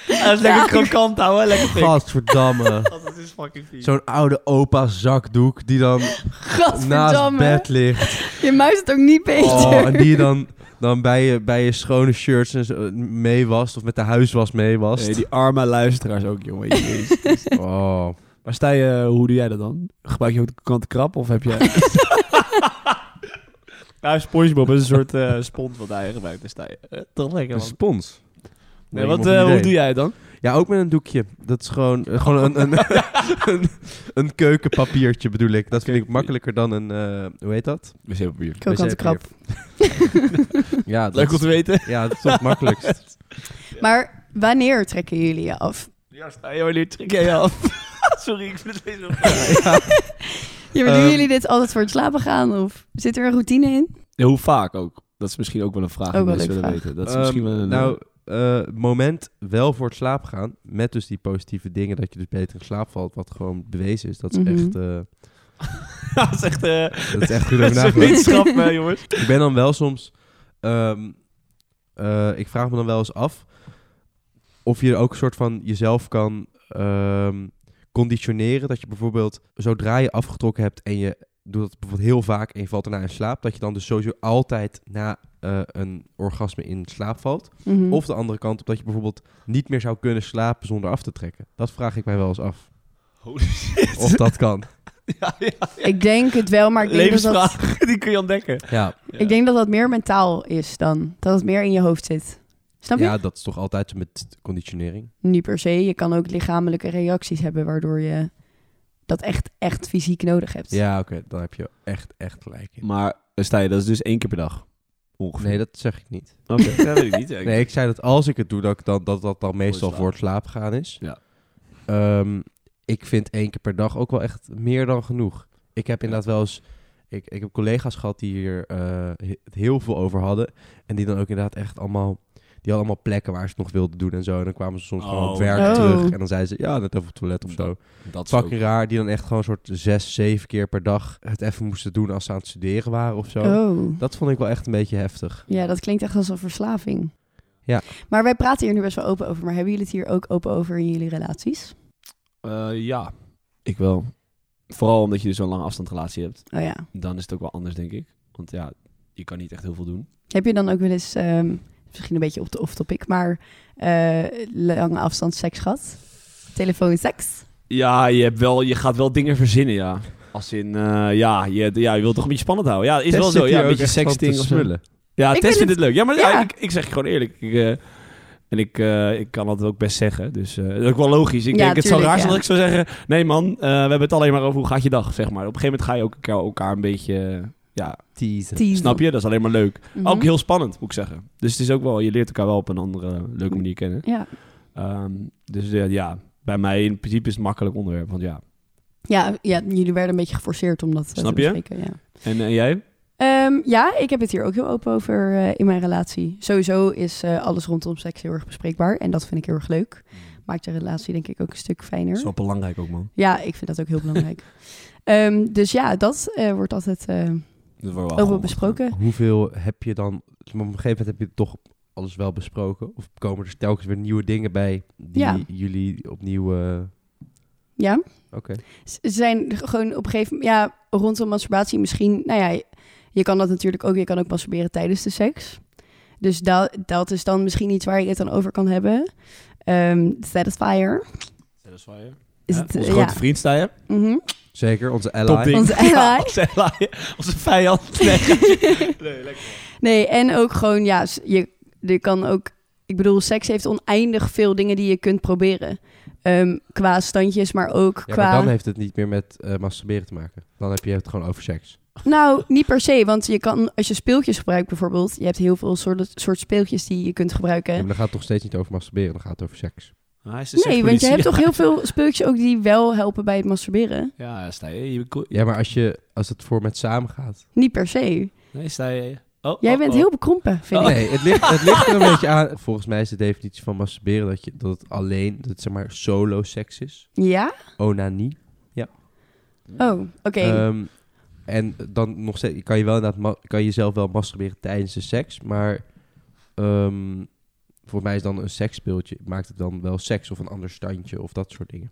S3: Hij is lekker krokant houden, lekker pik.
S4: Gadverdamme.
S3: Dat is dus fucking vies.
S4: Zo'n oude opa zakdoek die dan naast
S1: Gadverdamme.
S4: bed ligt.
S1: Je muist het ook niet beter.
S4: Oh, en die je dan, dan bij, je, bij je schone shirts en zo eh, mee wast. Of met de huiswas mee wast. [LAUGHS]
S3: Nee, die arme luisteraars ook, jongen. Jezus.
S4: Oh.
S3: maar sta je, hoe doe jij dat dan? Gebruik je ook de krokante krap of heb jij... [LAUGHS] nou, Spongebob is een soort eh spons wat hij gebruikt. Daar sta je. Eh, toch lekker,
S4: Een
S3: man.
S4: spons.
S3: Nee, wat,
S4: Dus Nee, nog
S3: eh,
S4: een
S3: hoe
S4: idee.
S3: doe jij het dan?
S4: Ja, ook met een doekje. Dat is gewoon, eh, gewoon een, [LAUGHS] een, een, een keukenpapiertje bedoel ik. Dat vind ik makkelijker dan een, eh, hoe heet dat?
S3: Wc-papier.
S1: Krokante krab.
S4: [LAUGHS] Ja, dat
S3: Leuk om
S4: is-
S3: te weten.
S4: Ja, dat is toch het makkelijkst.
S1: Maar wanneer trekken jullie je af?
S2: Ja, sta je wanneer trek jij je af?
S3: [LAUGHS]
S2: Sorry, ik vind het deze
S1: Ja, maar doen
S4: Ehm.
S1: jullie dit altijd voor het slapen gaan? Of zit er een routine in?
S3: Ja, hoe vaak ook? Dat is misschien ook wel een vraag die
S1: Ook wel
S3: mensen
S1: een
S3: willen
S1: vraag.
S3: weten. Dat is
S4: Ehm,
S3: misschien wel een...
S4: Nou, eh, moment wel voor het slapen gaan. Met dus die positieve dingen. Dat je dus beter in slaap valt. Wat gewoon bewezen is. Dat is
S1: Mhm.
S4: echt... eh,
S3: [LAUGHS] dat is echt... eh,
S2: [LAUGHS]
S4: dat is echt goed
S3: dat
S4: over
S3: is een
S4: [LAUGHS] nagedacht.
S3: wetenschap, eh, jongens.
S4: Ik ben dan wel soms ehm, eh, eh, ik vraag me dan wel eens af of je ook een soort van jezelf kan ehm, conditioneren. Dat je bijvoorbeeld, zodra je afgetrokken hebt en je doet dat bijvoorbeeld heel vaak en je valt daarna in slaap, dat je dan dus sowieso altijd na eh, een orgasme in slaap valt.
S1: Mhm.
S4: Of de andere kant op dat je bijvoorbeeld niet meer zou kunnen slapen zonder af te trekken. Dat vraag ik mij wel eens af.
S3: Holy shit.
S4: Of dat kan.
S3: [LAUGHS] ja, ja, ja.
S1: Ik denk het wel, maar ik denk, dat dat,
S3: Levensvraag, [LAUGHS] die kun je ontdekken.
S4: Ja,
S1: ik denk dat dat meer mentaal is dan. Dat het meer in je hoofd zit. Snap je?
S4: ja dat is toch altijd zo met conditionering.
S1: Niet per se. Je kan ook lichamelijke reacties hebben waardoor je dat echt, echt fysiek nodig hebt.
S4: Ja, oké, dan heb je echt, echt gelijk in.
S3: Maar eh, Stijn, dat is dus één keer per dag? Ongeveer.
S4: Nee, dat zeg ik niet.
S3: Oké, dat weet ik niet.
S4: Nee, ik zei dat als ik het doe, dat ik dan, dat, dat dan meestal
S3: slaap.
S4: voor het slaap gaan is.
S3: Ja.
S4: Ehm, ik vind één keer per dag ook wel echt meer dan genoeg. Ik heb inderdaad wel eens... Ik, ik heb collega's gehad die hier eh, he- het heel veel over hadden. En die dan ook inderdaad echt allemaal... Die hadden allemaal plekken waar ze het nog wilden doen en zo. En dan kwamen ze soms gewoon op
S3: Oh.
S4: werk
S1: Oh.
S4: terug. En dan zeiden ze, ja, net even op het toilet of zo.
S3: Dat is
S4: Fucking raar, die dan echt gewoon een soort zes, zeven keer per dag het even moesten doen als ze aan het studeren waren of zo.
S1: Oh.
S4: Dat vond ik wel echt een beetje heftig.
S1: Ja, dat klinkt echt als een verslaving.
S4: Ja.
S1: Maar wij praten hier nu best wel open over. Maar hebben jullie het hier ook open over in jullie relaties?
S3: ook- Eh, ja, ik wel. Vooral omdat je dus zo'n lange afstandrelatie hebt.
S1: Oh ja.
S3: Dan is het ook wel anders, denk ik. Want ja, je kan niet echt heel veel doen.
S1: Heb je dan ook wel eens, ehm, misschien een beetje op de off-topic, maar eh, lange afstand seks gehad? Telefoonseks?
S3: Ja, je, hebt wel, je gaat wel dingen verzinnen, ja. Als in, eh, ja, je, ja, je wilt toch een beetje spannend houden. Ja, het is wel zo. Ja, een beetje sexting of zo. Ja,
S1: Ik
S3: Tess
S1: vind
S3: vindt het leuk. Ja, maar
S1: Ja.
S3: ja, ik, ik zeg je gewoon eerlijk. Ik, eh, en ik, eh, ik kan dat ook best zeggen. Dus eh, dat is ook wel logisch. Ik
S1: Ja,
S3: denk, het zou
S1: tuurlijk,
S3: raar
S1: ja.
S3: zijn dat ik zou zeggen... Nee man, eh, we hebben het alleen maar over hoe gaat je dag, zeg maar. Op een gegeven moment ga je ook elkaar, elkaar een beetje... eh, ja,
S4: Teasen.
S3: snap je? Dat is alleen maar leuk.
S1: Mhm.
S3: Ook heel spannend, moet ik zeggen. Dus het is ook wel... Je leert elkaar wel op een andere leuke manier kennen.
S1: Ja.
S3: Ehm, dus eh, ja, bij mij in principe is het een makkelijk onderwerp. Want ja.
S1: Ja, ja, jullie werden een beetje geforceerd om dat eh,
S3: Snap
S1: te
S3: je?
S1: bespreken. Ja.
S3: En, eh, jij?
S1: Ehm, ja, ik heb het hier ook heel open over eh, in mijn relatie. Sowieso is eh, alles rondom seks heel erg bespreekbaar. En dat vind ik heel erg leuk.
S3: Mm.
S1: Maakt de relatie denk ik ook een stuk fijner.
S3: belangrijk ook, man.
S1: Ja, ik vind dat ook heel belangrijk. Ehm, dus ja, dat eh, wordt altijd eh,
S3: Dat
S4: Oh,
S3: wordt
S1: open
S3: [LAUGHS]
S1: besproken.
S4: Hoeveel heb je dan... Op een gegeven moment heb je toch alles wel besproken? Of komen er telkens weer nieuwe dingen bij die
S1: Ja.
S4: jullie opnieuw... eh,
S1: Ja.
S4: Oké.
S1: Ze zijn gewoon op een gegeven moment, ja, rondom masturbatie misschien, nou ja, je- je kan dat natuurlijk ook, je kan ook masturberen tijdens de seks. Dus dat, dat is dan misschien iets waar je het dan over kan hebben. Ehm satisfier. Is het,
S3: Onze
S1: eh,
S3: grote
S1: ja.
S3: vriend sta je.
S1: Mhm.
S4: Zeker, onze
S3: Top
S4: ally.
S3: ding.
S1: Onze
S3: [LAUGHS]
S1: ally.
S3: onze ally. Onze vijand. Nee.
S1: Nee, en ook gewoon, ja, s- je, je kan ook... Ik bedoel, seks heeft oneindig veel dingen die je kunt proberen. Ehm, qua standjes, maar ook
S4: Ja,
S1: qua...
S4: maar dan heeft het niet meer met eh, masturberen te maken. Dan heb je het gewoon over seks.
S1: Nou, niet per se, want je kan, als je speeltjes gebruikt bijvoorbeeld... Je hebt heel veel soorten soort speeltjes die je kunt gebruiken.
S4: Ja, maar dan gaat het toch steeds niet over masturberen, dan gaat het over seks.
S1: nee, want je hebt toch heel veel speeltjes ook die wel helpen bij het masturberen?
S3: Ja, sta je. je ko-
S4: Ja, maar als, je, als het voor met samen gaat...
S1: Niet per se.
S3: Nee, sta je. Oh,
S1: Jij
S3: oh,
S1: bent
S3: oh.
S1: heel bekrompen, vind ik.
S4: Nee, het ligt, het ligt er
S1: [LAUGHS]
S4: een beetje aan. Volgens mij is de definitie van masturberen dat, je, dat het alleen, dat het zeg maar solo seks is.
S1: Ja?
S4: Onanie.
S1: Oh, oké.
S4: Ehm, en dan nog steeds, kan je wel inderdaad, ma- kan je jezelf wel masturberen tijdens de seks, maar ehm volgens mij is dan een seksspeeltje, maakt het dan wel seks of een ander standje of dat soort dingen.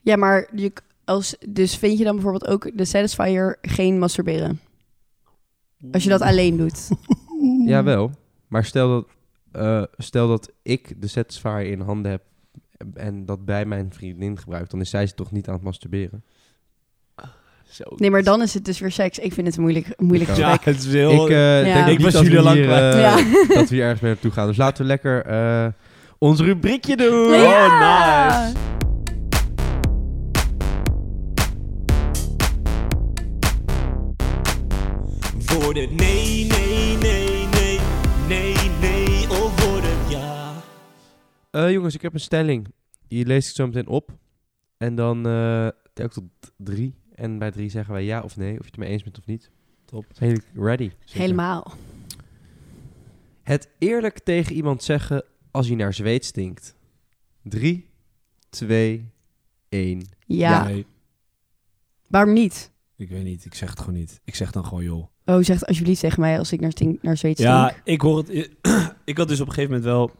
S1: Ja, maar je, k- als, dus vind je dan bijvoorbeeld ook de satisfier geen masturberen? Als je dat alleen doet. Mm.
S4: Jawel, maar stel dat, eh, stel dat ik de satisfier in handen heb en dat bij mijn vriendin gebruikt, dan is zij ze toch niet aan het masturberen.
S3: Zo.
S1: Nee, maar dan is het dus weer seks. Ik vind het moeilijk, moeilijk
S4: Ja.
S3: Ja,
S1: gesprek.
S3: het is heel...
S4: ik eh,
S1: Ja.
S4: denk
S1: Ik
S4: niet
S3: was
S4: dat
S3: jullie
S4: we
S3: al lang
S4: hier,
S3: kwijt.
S4: eh,
S1: Ja. [LAUGHS]
S4: dat we hier ergens mee naartoe gaan. Dus laten we lekker eh, ons rubriekje doen.
S1: Ja!
S3: Oh, nice. eh,
S2: Voor het nee, nee, nee, nee, nee, nee,
S3: oh,
S2: of voor het ja.
S4: Eh, jongens, ik heb een stelling. Die lees ik zo meteen op. En dan eh tel ik tot d- drie. En bij drie zeggen wij ja of nee. Of je het mee eens bent of niet.
S3: Top.
S4: Zijn jullie ready?
S1: Helemaal.
S4: Het eerlijk tegen iemand zeggen als hij naar zweet stinkt. Drie, twee, één.
S1: Ja.
S3: Nee,
S1: Waarom niet?
S3: ik weet niet. Ik zeg het gewoon niet. Ik zeg dan gewoon, joh.
S1: Oh, zegt alsjeblieft tegen mij als ik naar, stink, naar zoiets
S3: Ja,
S1: stink.
S3: ik hoor het. [CLEARS THROAT] ik had dus op een gegeven moment wel.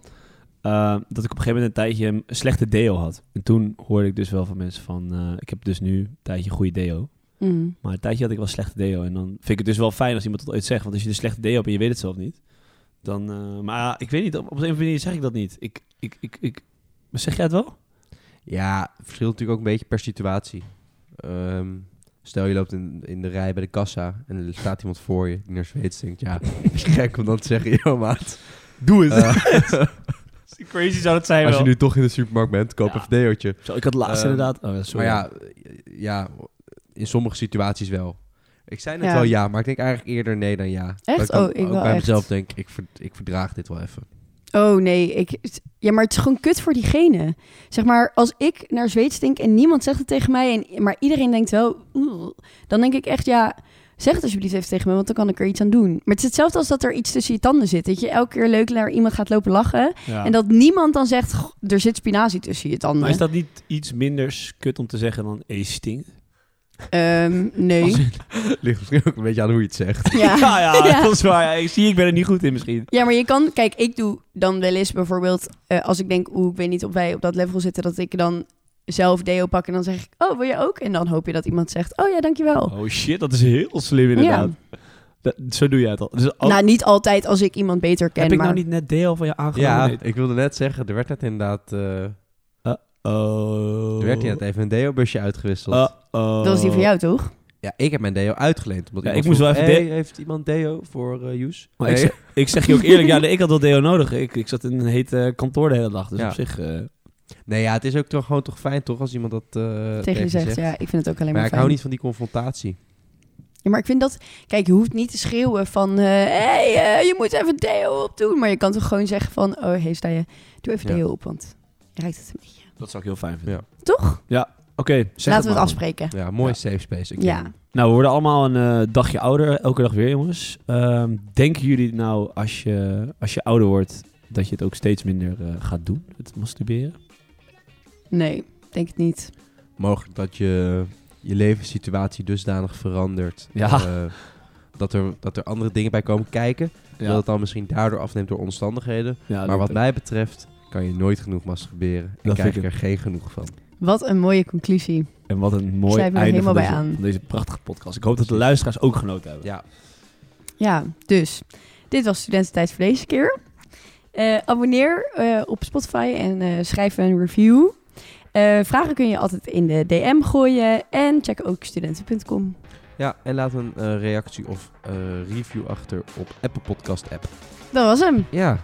S3: eh, dat ik op een gegeven moment een tijdje een slechte deo had. En toen hoorde ik dus wel van mensen van. eh, ik heb dus nu een tijdje goede deo.
S1: Mm.
S3: Maar een tijdje had ik wel slechte deo. En dan vind ik het dus wel fijn als iemand dat ooit zegt. Want als je een slechte deo hebt en je weet het zelf niet. Dan. eh, maar ik weet niet. Op, op een of andere manier zeg ik dat niet. Ik. ik, ik, ik maar zeg jij het wel?
S4: Ja, het verschilt natuurlijk ook een beetje per situatie. Ehm, stel, je loopt in, in de rij bij de kassa en er staat iemand voor je die naar Zweeds denkt. Ja, [LAUGHS] het is gek om dan te zeggen, joh maat.
S3: [LAUGHS]
S4: Doe het.
S3: Crazy zou het zijn
S4: als je nu toch in de supermarkt bent, koop
S3: Ja.
S4: even een deeltje.
S3: Zo, ik had laatst
S4: Ehm,
S3: inderdaad. Oh, sorry.
S4: Maar ja, eh, ja, in sommige situaties wel. Ik zei net
S1: Ja.
S4: wel ja, maar ik denk eigenlijk eerder nee dan ja.
S1: Echt?
S4: Dat Ik dan
S1: Oh, ik
S4: ook
S1: wel
S4: bij
S1: echt.
S4: mezelf denk, ik, ver- ik verdraag dit wel even. [LAUGHS]
S1: Oh nee, ik, het- ja, maar het is gewoon kut voor diegene. Zeg maar, als ik naar Zweed stink en niemand zegt het tegen mij, en, maar iedereen denkt wel, "Oeh," dan denk ik echt, ja, zeg het alsjeblieft even tegen me, want dan kan ik er iets aan doen. Maar het is hetzelfde als dat er iets tussen je tanden zit. Dat je elke keer leuk naar iemand gaat lopen lachen
S3: Ja.
S1: en dat niemand dan zegt, "Goh, er zit spinazie tussen je tanden.
S3: Maar is dat niet iets minder kut om te zeggen dan "Hey, stinkt?
S1: Ehm, nee.
S4: Ligt misschien ook een beetje aan hoe je het zegt.
S1: Ja.
S3: [LAUGHS] Ja, ja,
S1: Ja.
S3: dat is waar. Ja, ik zie, ik ben er niet goed in misschien.
S1: Ja, maar je kan... Kijk, ik doe dan wel eens bijvoorbeeld... eh, als ik denk, oeh, ik weet niet of wij op dat level zitten... dat ik dan zelf deo pak en dan zeg ik... oh, wil je ook? En dan hoop je dat iemand zegt... oh ja, dankjewel.
S3: Oh shit, dat is heel slim inderdaad. Dat, zo doe jij het al. Dus al-
S1: Nou, niet altijd als ik iemand beter ken,
S3: heb ik
S1: maar...
S3: nou niet net deel van je aangenomen?
S4: [LAUGHS] Ja,
S3: [LAUGHS]
S4: ik wilde net zeggen, er werd net inderdaad, eh,
S3: Oh.
S4: er werd net even een deo-busje uitgewisseld.
S1: Dat was die van jou, toch?
S4: Ah. Ja, ik heb mijn deo uitgeleend. Omdat
S3: Ja, ik
S4: iemand
S3: moest wel
S4: vroeg,
S3: even
S4: "Hey, heeft iemand deo voor eh Joes?
S3: Maar ik,
S4: Nee.
S3: zeg, ik zeg je ook eerlijk, [LAUGHS] ja, nee, ik had wel deo nodig. Ik, ik zat in een heet eh, kantoor de hele dag, dus
S4: Ja.
S3: op zich... eh,
S4: [LAUGHS] nee, ja, het is ook toch gewoon toch fijn toch als iemand dat eh,
S1: Tegen je zegt, ja, ik vind het ook alleen
S4: Maar,
S1: maar,
S4: ik
S1: fijn.
S4: hou niet van die confrontatie.
S1: Ja, maar ik vind dat... Kijk, je hoeft niet te schreeuwen van... Hé, hey, eh, je moet even deo opdoen. Maar je kan toch gewoon zeggen van... Oh, hey, sta je... Doe even
S4: Ja.
S1: deo op, want je ruikt het een beetje.
S3: dat zou ik heel fijn vinden.
S1: Toch?
S3: Oké, zeg
S1: Laten we
S3: maar.
S1: het afspreken.
S4: Ja, mooi
S3: Ja.
S4: safe space. Ik
S1: Ja.
S4: ken hem.
S3: Nou, we worden allemaal een eh, dagje ouder, elke dag weer, jongens. Ehm, denken jullie nou, als je, als je ouder wordt, dat je het ook steeds minder eh, gaat doen, het masturberen?
S1: Nee, denk het niet.
S4: Mogelijk dat je je levenssituatie dusdanig verandert.
S3: Ja.
S4: eh, dat, er, dat er andere dingen bij komen kijken. Dat het dan misschien daardoor afneemt door omstandigheden.
S3: ja
S4: maar
S3: dat-
S4: wat mij betreft kan je nooit genoeg masturberen. En
S3: vind
S4: krijg
S3: ik
S4: ik er geen genoeg van.
S1: Wat een mooie conclusie.
S3: En wat een
S1: Ik
S3: mooi
S1: sluit me er
S3: einde
S1: helemaal
S3: van deze,
S1: bij aan.
S3: van deze prachtige podcast. Ik hoop dat de luisteraars ook genoten hebben.
S4: Ja,
S1: Ja, dus dit was Studententijd voor deze keer. Eh, abonneer eh, op Spotify en eh, schrijf een review. Eh, vragen kun je altijd in de DM gooien. En check ook studenten.com.
S4: ja en laat een eh, reactie of eh, review achter op Apple Podcast app.
S1: Dat was hem.
S4: Ja,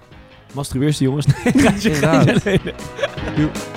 S3: Masturbeerste jongens. [LAUGHS] Nee, ga je- ga je-
S4: Inderdaad.
S3: nee, nee.
S4: doe.